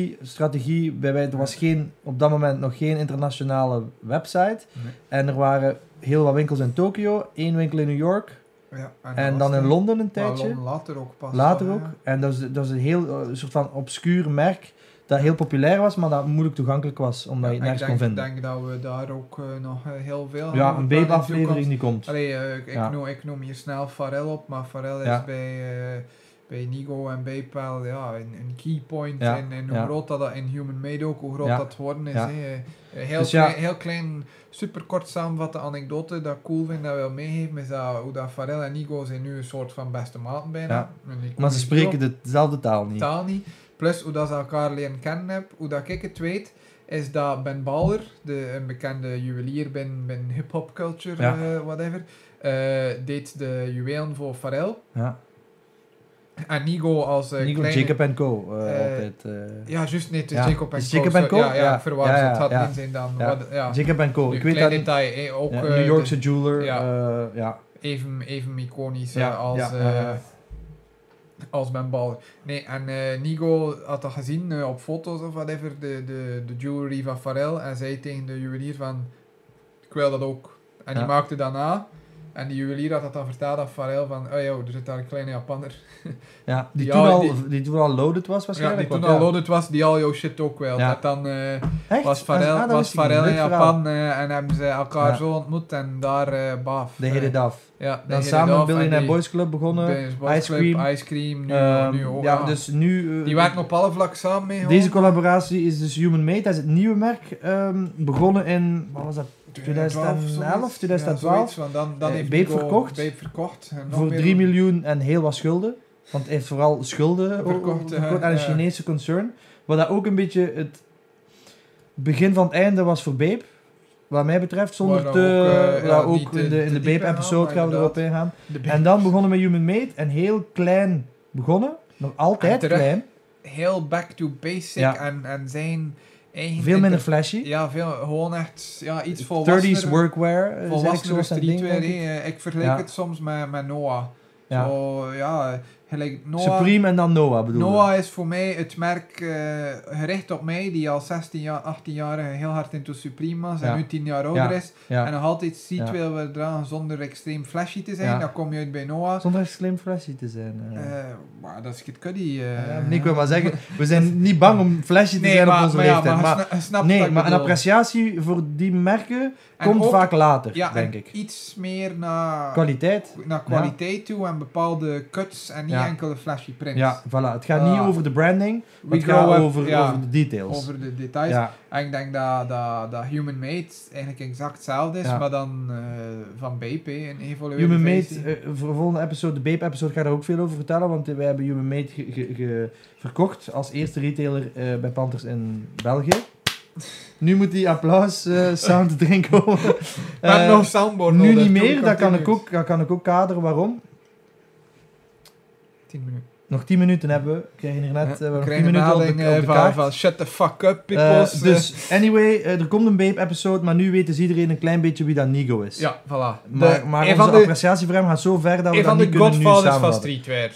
distributiestrategie. Bij wij, er was geen, op dat moment nog geen internationale website. Nee. En er waren heel wat winkels in Tokio, één winkel in New York ja, en, dan dat was in het. Londen een Maar tijdje. Londen later ook pas. Later wel, ook. ja. En dat is, dat is een heel eh, soort van obscuur merk dat heel populair was, maar dat moeilijk toegankelijk was, omdat Ja, je het nergens ik kon denk, vinden. denk dat we daar ook eh, nog eh, heel veel ja, over een praten in de babe-aflevering toekomst. die komt. Allee, eh, ik, ik Ja. noem, ik noem hier snel Farel op, maar Farel is Ja. bij, eh, bij Nigo en Baypal ja, een, een key point Ja, in, in hoe ja. groot dat, dat in Human Made ook, hoe groot Ja, dat geworden is. ja. hè. Eh, Heel, Dus ja. klein, heel klein, superkort samenvatte anekdote dat ik cool vind dat wil meegeven, is dat, hoe dat Farel en Nigo zijn nu een soort van beste maten bijna. Ja. En ik Maar ze communiceren spreken de- dezelfde taal niet. taal niet. Plus hoe dat ze elkaar leren kennen heb, hoe dat ik het weet, is dat Ben Baller, de, een bekende juwelier binnen, binnen hip-hop culture, Ja. eh, whatever, eh, deed de juwelen voor Pharrell. Ja. En Nigo als eh, Nico, kleine... Jacob Co. eh, Eh, altijd. eh. Ja, juist, nee, het is Ja, Jacob het en is Co. Jacob sorry. en Co? Ja, ja, Ja. ik verwar Ja, ze, ja, het had ja. niet zijn dan. Ja. Wat, ja. Jacob Co. Nu, Ik weet klein dat niet. detail, eh, ook Ja, eh, New Yorkse de- jeweler. ja. eh, ja. even, even iconisch Ja, eh, als, ja, eh, ja, ja. als Ben Baller. Nee, en eh, Nigo had dat gezien eh, op foto's of whatever, de, de, de jewelry van Pharrell. En zei tegen de juwelier van, ik wil dat ook. En die Ja. maakte dat na. En die juwelier had dat dan verteld aan Pharrell van, oh joh, er zit daar een kleine Japanner. Ja, die, Ja, toen al, die- die, toen al loaded was Ja, waarschijnlijk. die toen want al loaded was, die al jouw shit ook wil. Ja. Dat dan eh, Echt? was Ah, Pharrell, dat was wist ik niet. Pharrell in Leuk verhaal. Japan eh, en hebben ze elkaar Ja. zo ontmoet en daar eh baaf. They hit eh, it off. Ja, they Dan hit it samen off een en Billionaire die- Boys Club begonnen. Bij Sports Ice Club, Cream. Ice Cream, nu, Ehm, nu ook. ja, ja. dus nu... eh, die werken op alle vlakken samen mee. Deze gewoon. collaboratie is dus Human Made. Dat is het nieuwe merk. ehm, begonnen in... Wat was dat? 2011, zoiets. 2012. Ja, zoiets, want dan, dan Eh, heeft Bape Nico verkocht. Bape verkocht. en nog voor meer 3 miljoen en heel wat schulden. Want hij heeft vooral schulden Verkocht, verkocht, eh, aan een ja. Chinese concern. Wat dat ook een beetje het begin van het einde was voor Babe. Wat mij betreft, zonder Waar dat te... ook, eh, waar ja, dat niet ook te- in de, in te de diep in gaan, Babe-episode maar gaan we erop inderdaad. ingaan. De Bape- En dan begonnen met Human Made en heel klein begonnen. Nog En altijd terug. klein. Heel back to basic Ja. en, en zijn eigen... Veel minder inter- flashy. Ja, veel, gewoon echt ja, iets volwassener. 30s workwear. eh, zeg ik volwassener zoals dat streetwear. ding, denk ik. hè. ik vergelijk Ja. het soms met, met Noah. Ja. Zo, ja, Gelijk Noah. Supreme en dan Noah bedoel je? Noah is voor mij het merk eh, gericht op mij, die al 16 jaar, 18-jarige heel hard into Supreme was en Ja. nu 10 jaar ouder Ja. is. En Ja. nog altijd ziet Ja. wil we dragen zonder extreem flashy te zijn, Ja. dan kom je uit bij Noah. Zonder echt slim flashy te zijn. eh. Eh, maar dat is het cuddy. Ja, eh. nee, ik wil maar <laughs> zeggen, we zijn niet bang om flashy te Nee, zijn maar, op onze maar leeftijd. Ja, maar, maar, sna- snap wat nee, ik maar een bedoel. appreciatie voor die merken En komt ook- vaak later, ja, denk en ik. iets meer naar, Kwaliteit. naar kwaliteit toe en bepaalde cuts en niet Ja. enkele flashy prints. Ja, voilà. Het gaat Ah. niet over de branding, maar We het gaat grow up, over, ja, over de details. over de details. ja, En ik denk dat, dat, dat Human Made eigenlijk exact hetzelfde is, Ja. maar dan eh, van BP, een evolueerde Human Made, versie. eh, voor de volgende episode, de Bape-episode, ga ik daar ook veel over vertellen, want wij hebben Human Made ge- ge- ge- verkocht als eerste retailer eh, bij Panthers in België. Nu moet die applaus <laughs> eh, sound erin komen. maar Eh, nog soundboard nu nodig, niet toen meer, dat kan, ik continues. ook, dat kan ik ook kaderen. Waarom? 10 minuten. Nog 10 minuten hebben we. Ik krijg hier net eh, we hebben nog krijg 10 minuten op de, melding, eh, op de van, kaart. van shut the fuck up, Eh, peoples. eh. dus, anyway, eh, er komt een Bape-episode, maar nu weet dus iedereen een klein beetje wie dat Nigo is. Dus- ja, voilà. Maar, De- maar een onze van de, appreciatie voor hem gaat zo ver dat we een dat van niet de kunnen nu godfathers van samenvatten. streetwear.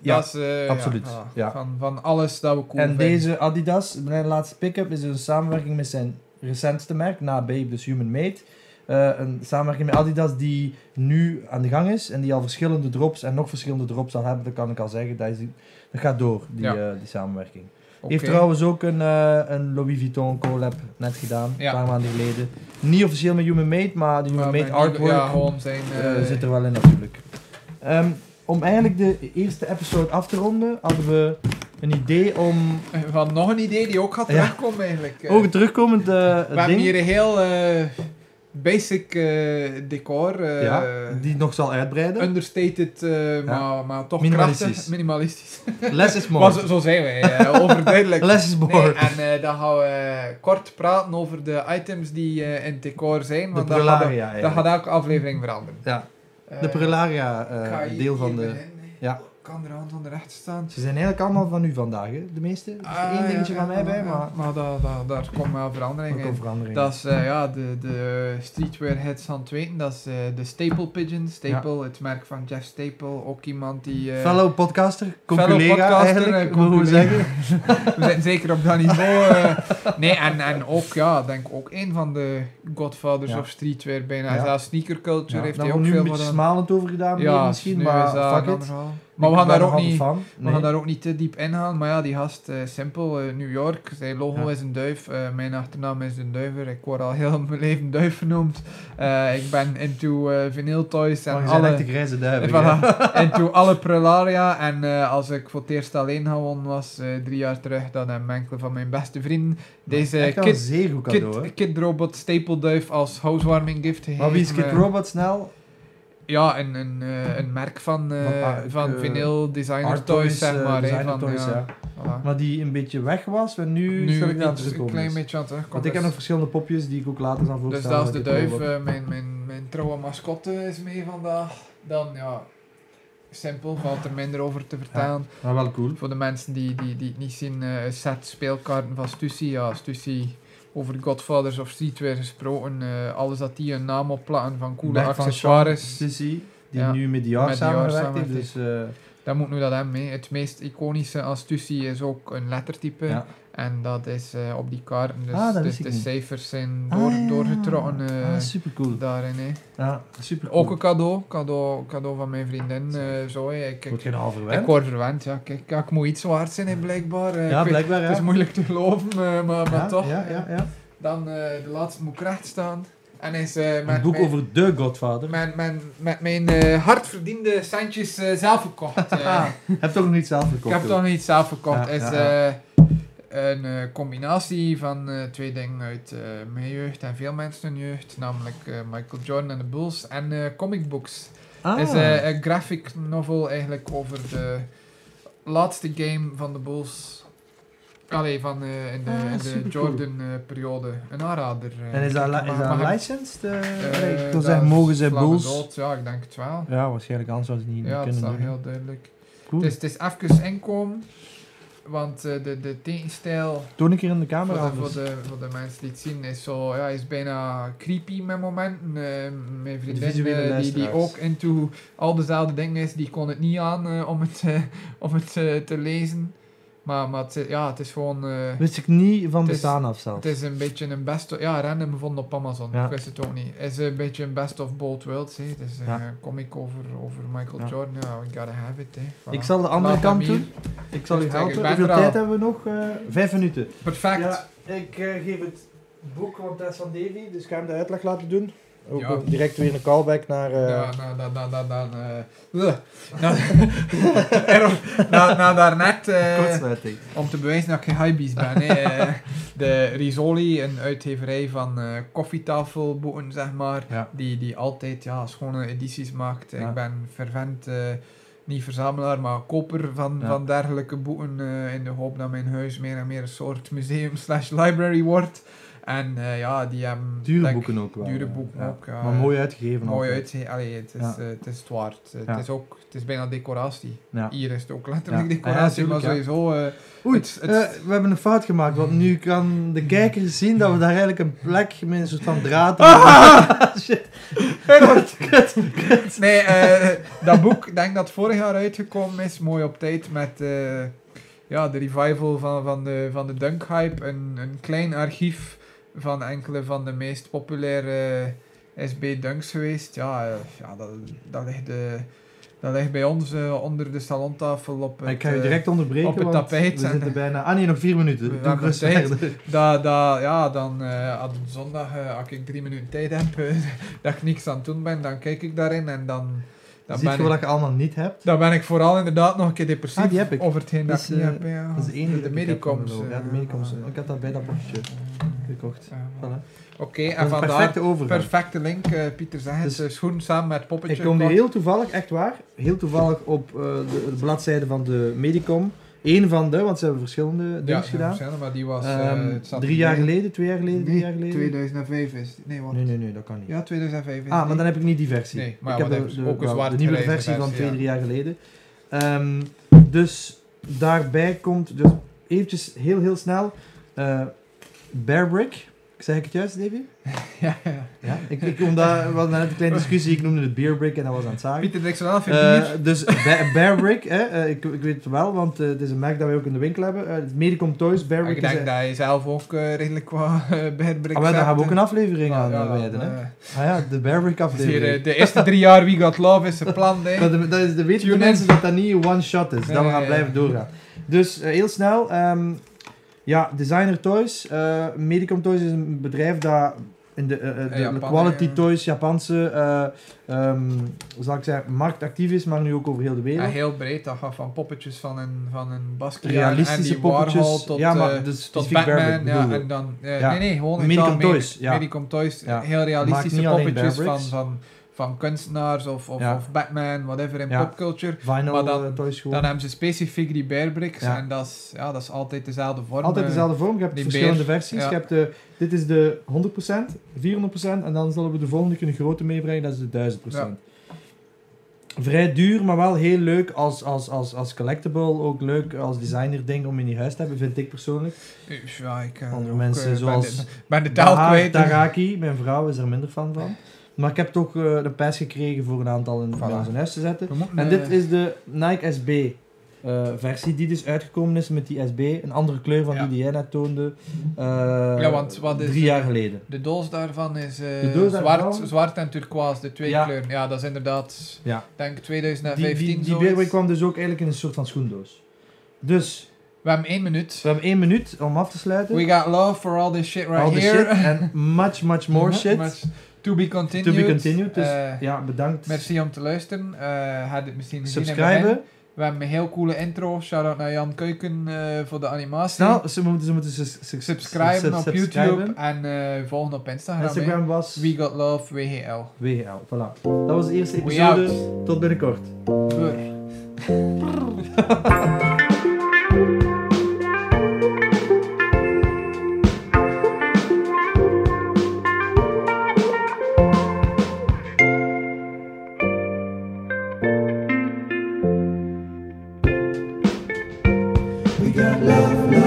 Ja, dat is, eh, ja, absoluut, voilà. ja. Van, van alles dat we cool En vinden. deze Adidas, mijn laatste pick-up, is een samenwerking met zijn recentste merk, na Babe, dus Human Made. Eh, een samenwerking met Adidas die nu aan de gang is en die al verschillende drops en nog verschillende drops zal hebben. Dat kan ik al zeggen. Dat, is, dat gaat door, die, Ja. eh, die samenwerking. Oké. Heeft trouwens ook een, eh, een Louis Vuitton collab net gedaan, Ja. een paar maanden geleden. Niet officieel met Human Made, maar de Human Maar Made bij- artwork Ja, gewoon zijn... eh, eh, zit er wel in natuurlijk. Ehm, om eigenlijk de eerste episode af te ronden, hadden we een idee om <laughs> Van nog een idee die ook gaat Ja. terugkomen eigenlijk. eh. Ook een terugkomend eh, We hebben ding hier een heel eh, basic eh, decor. eh, ja, die nog zal uitbreiden. Understated, eh, maar, maar toch Minimalistisch. krachtig. <laughs> Minimalistisch. Less is Maar more. zo, zo zijn <laughs> wij, eh, overduidelijk. Less is Nee, more. en eh, dan gaan we eh, kort praten over de items die eh, in het decor zijn. de Want dat gaat, prelaria dat eigenlijk. gaat elke aflevering veranderen. Ja, de Eh, prelaria eh, ik ga hier- deel van hier de... beginnen. ja. Ik kan er hand onder rechts staan. Ze zijn eigenlijk allemaal van u vandaag, hè? de meeste. Er is Ah, één ja, dingetje ja, van mij ja, bij, ja. maar... Maar daar- daar- daar komt wel verandering Er in. komt verandering. Dat is eh, ja, de, de streetwear hits van het weten. Dat is eh, de Staple Pigeon. Staple, het merk van Jeff Staple. Ook iemand die... eh, Fellow podcaster, fellow conculega podcaster, eigenlijk, eh, mogen we conculega. zeggen. <laughs> We zijn zeker op dat niveau. eh. nee, en, en ook, ja, ik denk ook een van de godfathers Ja. of streetwear bijna. Ja. Zelfs sneaker culture Ja, heeft daar hij wordt ook nu een veel beetje van. smalend over gedaan, Ja, misschien, nu maar is dat fuck een it. ander verhaal. Ik Maar we gaan ben daar nog ook altijd niet... Van. We gaan Nee. daar ook niet te diep in gaan, maar ja, die gast, eh, simpel, eh, New York, zijn logo Ja. is een duif, eh, mijn achternaam is een duiver, ik word al heel mijn leven duif genoemd. Eh, ik ben into eh vinyl toys Maar en Oh, je bent alle... echt de grijze duivel. hè. Voilà. <laughs> En toen alle prelaria. En eh, als ik voor het eerst alleen gewoon was, eh, drie jaar terug, dan heb ik enkele van mijn beste vrienden deze Echt wel een kid, zeer goed cadeau, hè. kid, kid Robot stapelduif als housewarming gift gegeven. Maar wie is Kid Eh, Robot snel? Ja, een, een, eh, een merk van, eh, Van, ah, van eh, vinyl designer Art toys, zeg eh, maar. hè, designer van, toys, ja, ja. voilà. Maar die een beetje weg was, en nu, Nu stel ik dat het iets- een terugkomen klein is. beetje aan het dus. terugkomen Want ik heb is. nog verschillende popjes die ik ook later zal Dus voorstellen. dat is de met duif, Robot. eh, mijn, mijn, mijn trouwe mascotte is mee vandaag. Dan, ja, simpel, valt er minder over te vertellen. Maar wel cool. Voor de mensen die, die, die het niet zien, eh, een set speelkaarten van Stussy. Ja, Stussy over Godfathers of Streetwear gesproken. eh, alles dat die een naam op plakken van coole Back van accessoires. Sean Sissy, die Ja. nu met Met Dior Dior samenwerkt heeft. samenwerkt Dus, eh, Dan moet nu dat hem mee. Het meest iconische aan Stussy is ook een lettertype. Ja. En dat is eh, op die kaarten. Dus, Ah, dat dus wist de ik niet. cijfers zijn door, Ah, ja. doorgetrokken eh, ah, super cool. daarin. hè. Ja, super cool. Ook een cadeau. Cadeau, cadeau van mijn vriendin. eh zo, hè. ik, Wordt ik, geen halve ik word verwend. Ja. Kijk, ja, ik moet iets waard zijn, hè, blijkbaar. Eh, Ja, ik weet- blijkbaar, ja. Het is moeilijk te geloven, eh, maar, maar Ja, toch. Ja, ja, ja. Dan eh, de laatste moet ik recht staan. En is eh Een met, boek mijn, over de Godfather. mijn, mijn, met mijn eh, hardverdiende centjes eh, <laughs> zelf gekocht. eh. Ah, heb toch nog niet zelf ik gekocht? heb toch nog iets zelf gekocht. Ja, is ja, ja. eh, een eh, combinatie van eh, twee dingen uit eh, mijn jeugd en veel mensen hun jeugd. Namelijk eh, Michael Jordan en de Bulls en eh comic books. Ah, is eh, een graphic novel eigenlijk over de laatste game van de Bulls. Allee, van eh, in de, Ah, in de supercool. Jordan-periode. een aanrader. eh. en is dat, li- is Maar- dat maar- licensed? eh, eh, nee, ik wil dat zeggen, is mogen ze vlag en Bulls? gold, Ja, ik denk het wel. Ja, waarschijnlijk anders zou ze het niet Ja, dat kunnen Dus is doen. heel duidelijk. Cool. Het is, het is even inkomen. Want eh, de, de tekenstijl Toon een keer in de voor camera. de, anders. voor, de, voor de mensen die het zien is, zo, ja, is bijna creepy met momenten. Eh, mijn vriendin visuele eh, die, die luisteraars. ook into al dezelfde dingen is, die kon het niet aan eh, om het, eh, om het eh, te lezen. Maar, maar het, is- ja, het is gewoon... eh, Wist ik niet van Het is- bestaan af het zelfs. is een beetje een best of... Ja, random gevonden op Amazon. Ja. Ik wist het ook niet. Het is een beetje een best of both worlds. hè. Het is een Ja. eh, comic over, over Michael Ja. Jordan. Ja, we gotta have it. hè. Voilà. Ik zal de andere Laat kant hem hier. doen. Ik zal u Dus kijk, ik helpen. ben Hoeveel er al. tijd hebben we nog? Eh, vijf minuten. Perfect. Ja, ik eh, geef het boek, want dat is van Davy, dus ik ga hem de uitleg laten doen. Ook Ja. eh, direct weer een callback naar... eh, Ja, na, na, na, na, na, eh, na, <laughs> na, na, na daarnet, eh, kortsluiting. om te bewijzen dat ik geen hypebeast ben, hè, eh, de Risoli, een uitgeverij van eh, koffietafelboeken, zeg maar, Ja. die, die altijd ja, schone edities maakt. Ja. Ik ben fervent, eh, niet verzamelaar, maar koper van, Ja. van dergelijke boeken, eh, in de hoop dat mijn huis meer en meer een soort museum slash library wordt. En eh, ja, die hebben... Dure denk- boeken ook wel. Dure eh, boeken ook, ja. Maar mooi uitgegeven. Mooi altijd. uitzien. Allee, het is, Ja. eh, het is het waard. Eh, Ja. Het, is ook, het is bijna decoratie. Ja. Hier is het ook letterlijk Ja. decoratie, Ja, maar tuurlijk, ja. sowieso... <laughs> eh, Oei, Het- Mm. het- eh, we hebben een fout gemaakt, want nu kan de kijker zien dat we daar eigenlijk een plek met een soort van <laughs> draad... Shit. <laughs> nee, eh, dat boek, ik denk dat het vorig jaar uitgekomen is. Mooi op tijd met eh, ja, de revival van, van de, van de Dunk-hype. Een, een klein archief van enkele van de meest populaire eh, SB-dunks geweest. Ja, eh, ja dat, dat, ligt, eh, dat ligt bij ons eh, onder de salontafel op het... Ik ga je eh, direct onderbreken, op het want tapijt we zijn- zitten bijna... Ah nee, nog vier minuten. We Doe hebben gerust <laughs> tijd. verder. Dat, dat, ja, dan eh, op zondag, eh, als ik drie minuten tijd heb, <laughs> eh, dat ik niks aan het doen ben, dan kijk ik daarin en dan, dan, Ziet ben, je wat ik, ik allemaal niet heb? dan ben ik vooral inderdaad nog een keer depressief Ah, die heb ik. over hetgeen dat Dus, ik niet eh, heb. Ja. Dat is de enige de dat ik heb van medicoms. Merlot. Ja, de eh, medicoms. eh, Ik had dat bij dat boekje gekocht. eh, Voilà. Dat Oké, is en een vandaar perfecte overgang. perfecte link, eh, Pieter zegt het, Dus- eh, schoen samen met Ik poppetje. kom hier kort. heel toevallig, echt waar, heel toevallig op eh, de, de bladzijde van de Medicom. Eén van de, want ze hebben verschillende ja, dingen gedaan. Marcel, maar die was... eh, Ehm, het zat drie niet jaar bij. geleden, twee jaar geleden, drie Nee, jaar geleden. 2005 is het. Nee, wat? Nee, nee, nee, dat kan niet. Ja, 2005 is ah, het maar niet. dan heb ik niet die versie. Nee, maar ik heb wat heb je? Ook een wel, zwart de nieuwe grijze versie van versie, twee, ja. drie jaar geleden. Ehm, dus daarbij komt, dus eventjes heel, heel snel, eh Bear Brick. Zeg ik het juist, Davy? <laughs> Ja, ja. Ja, <laughs> ik, ik, omdat, we hadden net een kleine discussie, ik noemde het beerbrick en dat was aan het zagen. Pieter Dixon af, Eh, dus Ba- Bear Brick, hè, eh, ik, ik weet het wel, want eh, het is een merk dat wij ook in de winkel hebben. Eh, het Medicom Toys, Bear Maar Brick ik is... denk eh, dat hij zelf ook eh, redelijk qua uh, bedbreekt. ah, wel, daar gaan we ook een aflevering aan eh, wijden. hè. hè? Ah ja, de Bear Brick eh, aflevering. de eerste drie jaar Wie Got Love is gepland, hè. <laughs> Dat, dat is, dat weten de Tune mensen in. dat dat niet een one-shot is, dat we Nee, gaan ja. blijven doorgaan. Dus eh, heel snel, ehm, ja, Designer Toys. eh, Medicom Toys is een bedrijf dat in de, eh, eh, de- de Japan, Quality ja. Toys, Japanse, eh, ehm, zal ik zeggen, marktactief is, maar nu ook over heel de Ja, wereld. heel breed, dat gaat van poppetjes van een, van een Basquiat en Realistische Andy Warhol poppetjes. tot, ja, maar eh, dus tot specifiek Bear Batman. Brick Ja, bedoel ik. en dan, eh, Ja. Nee, nee, gewoon in Medicom het algemeen. Toys, ja. Medicom Toys, eh, Ja. heel realistische niet alleen poppetjes Bear van, Bricks. van, van kunstenaars of, of, Ja. of Batman, whatever, in Ja. popculture. Vinyl Maar dan- eh, Toys gewoon. Dan hebben ze specifiek die Bear Bricks Ja. en dat is, ja, dat is altijd dezelfde vorm. Altijd eh. dezelfde vorm. Je hebt die verschillende beer, versies. ja. Je hebt de, dit is de 100%, 400% en dan zullen we de volgende kunnen grote meebrengen. Dat is de 1000%. Vrij duur, maar wel heel leuk als, als, als, als collectible. Ook leuk als designer ding om in je huis te hebben, vind ik persoonlijk. Ja, ik, eh, Andere ook, mensen eh, ben zoals de- Ben de taal Baha kwijt. Taraki, mijn vrouw is er minder fan van. Maar ik heb toch eh, de pers gekregen voor een aantal in, bij Voilà. ons in huis te zetten. We moeten, En eh, dit is de Nike SB eh, versie die dus uitgekomen is met die SB. Een andere kleur van Ja. die die jij net toonde. eh, Ja, want wat is drie de- jaar geleden. De doos daarvan is eh, De doos daarvan? zwart, zwart en turquoise, de twee Ja. kleuren. Ja, dat is inderdaad, Ja. denk Die, 2015 die, die zoiets. Bearbrick kwam dus ook eigenlijk in een soort van schoendoos. Dus, We hebben één minuut. we hebben één minuut om af te sluiten. We got love for all this shit right All the here. <laughs> shit and much, much more shit. Much To be continued. To be continued, dus- Eh, Ja, bedankt. Merci om te luisteren. Eh had het misschien gezien in het begin. Subscriben. We hebben een heel coole intro. Shout-out naar Jan Kuiken eh, voor de animatie. Snel, Nou, ze moeten, ze moeten sus- sus- subscriben sus- op subscriben. YouTube en eh, volgen op Instagram. hè. Instagram was We got love, WGL. WGL. Voilà. Dat was de eerste We episode. Tot binnenkort. Brr. We got love, love.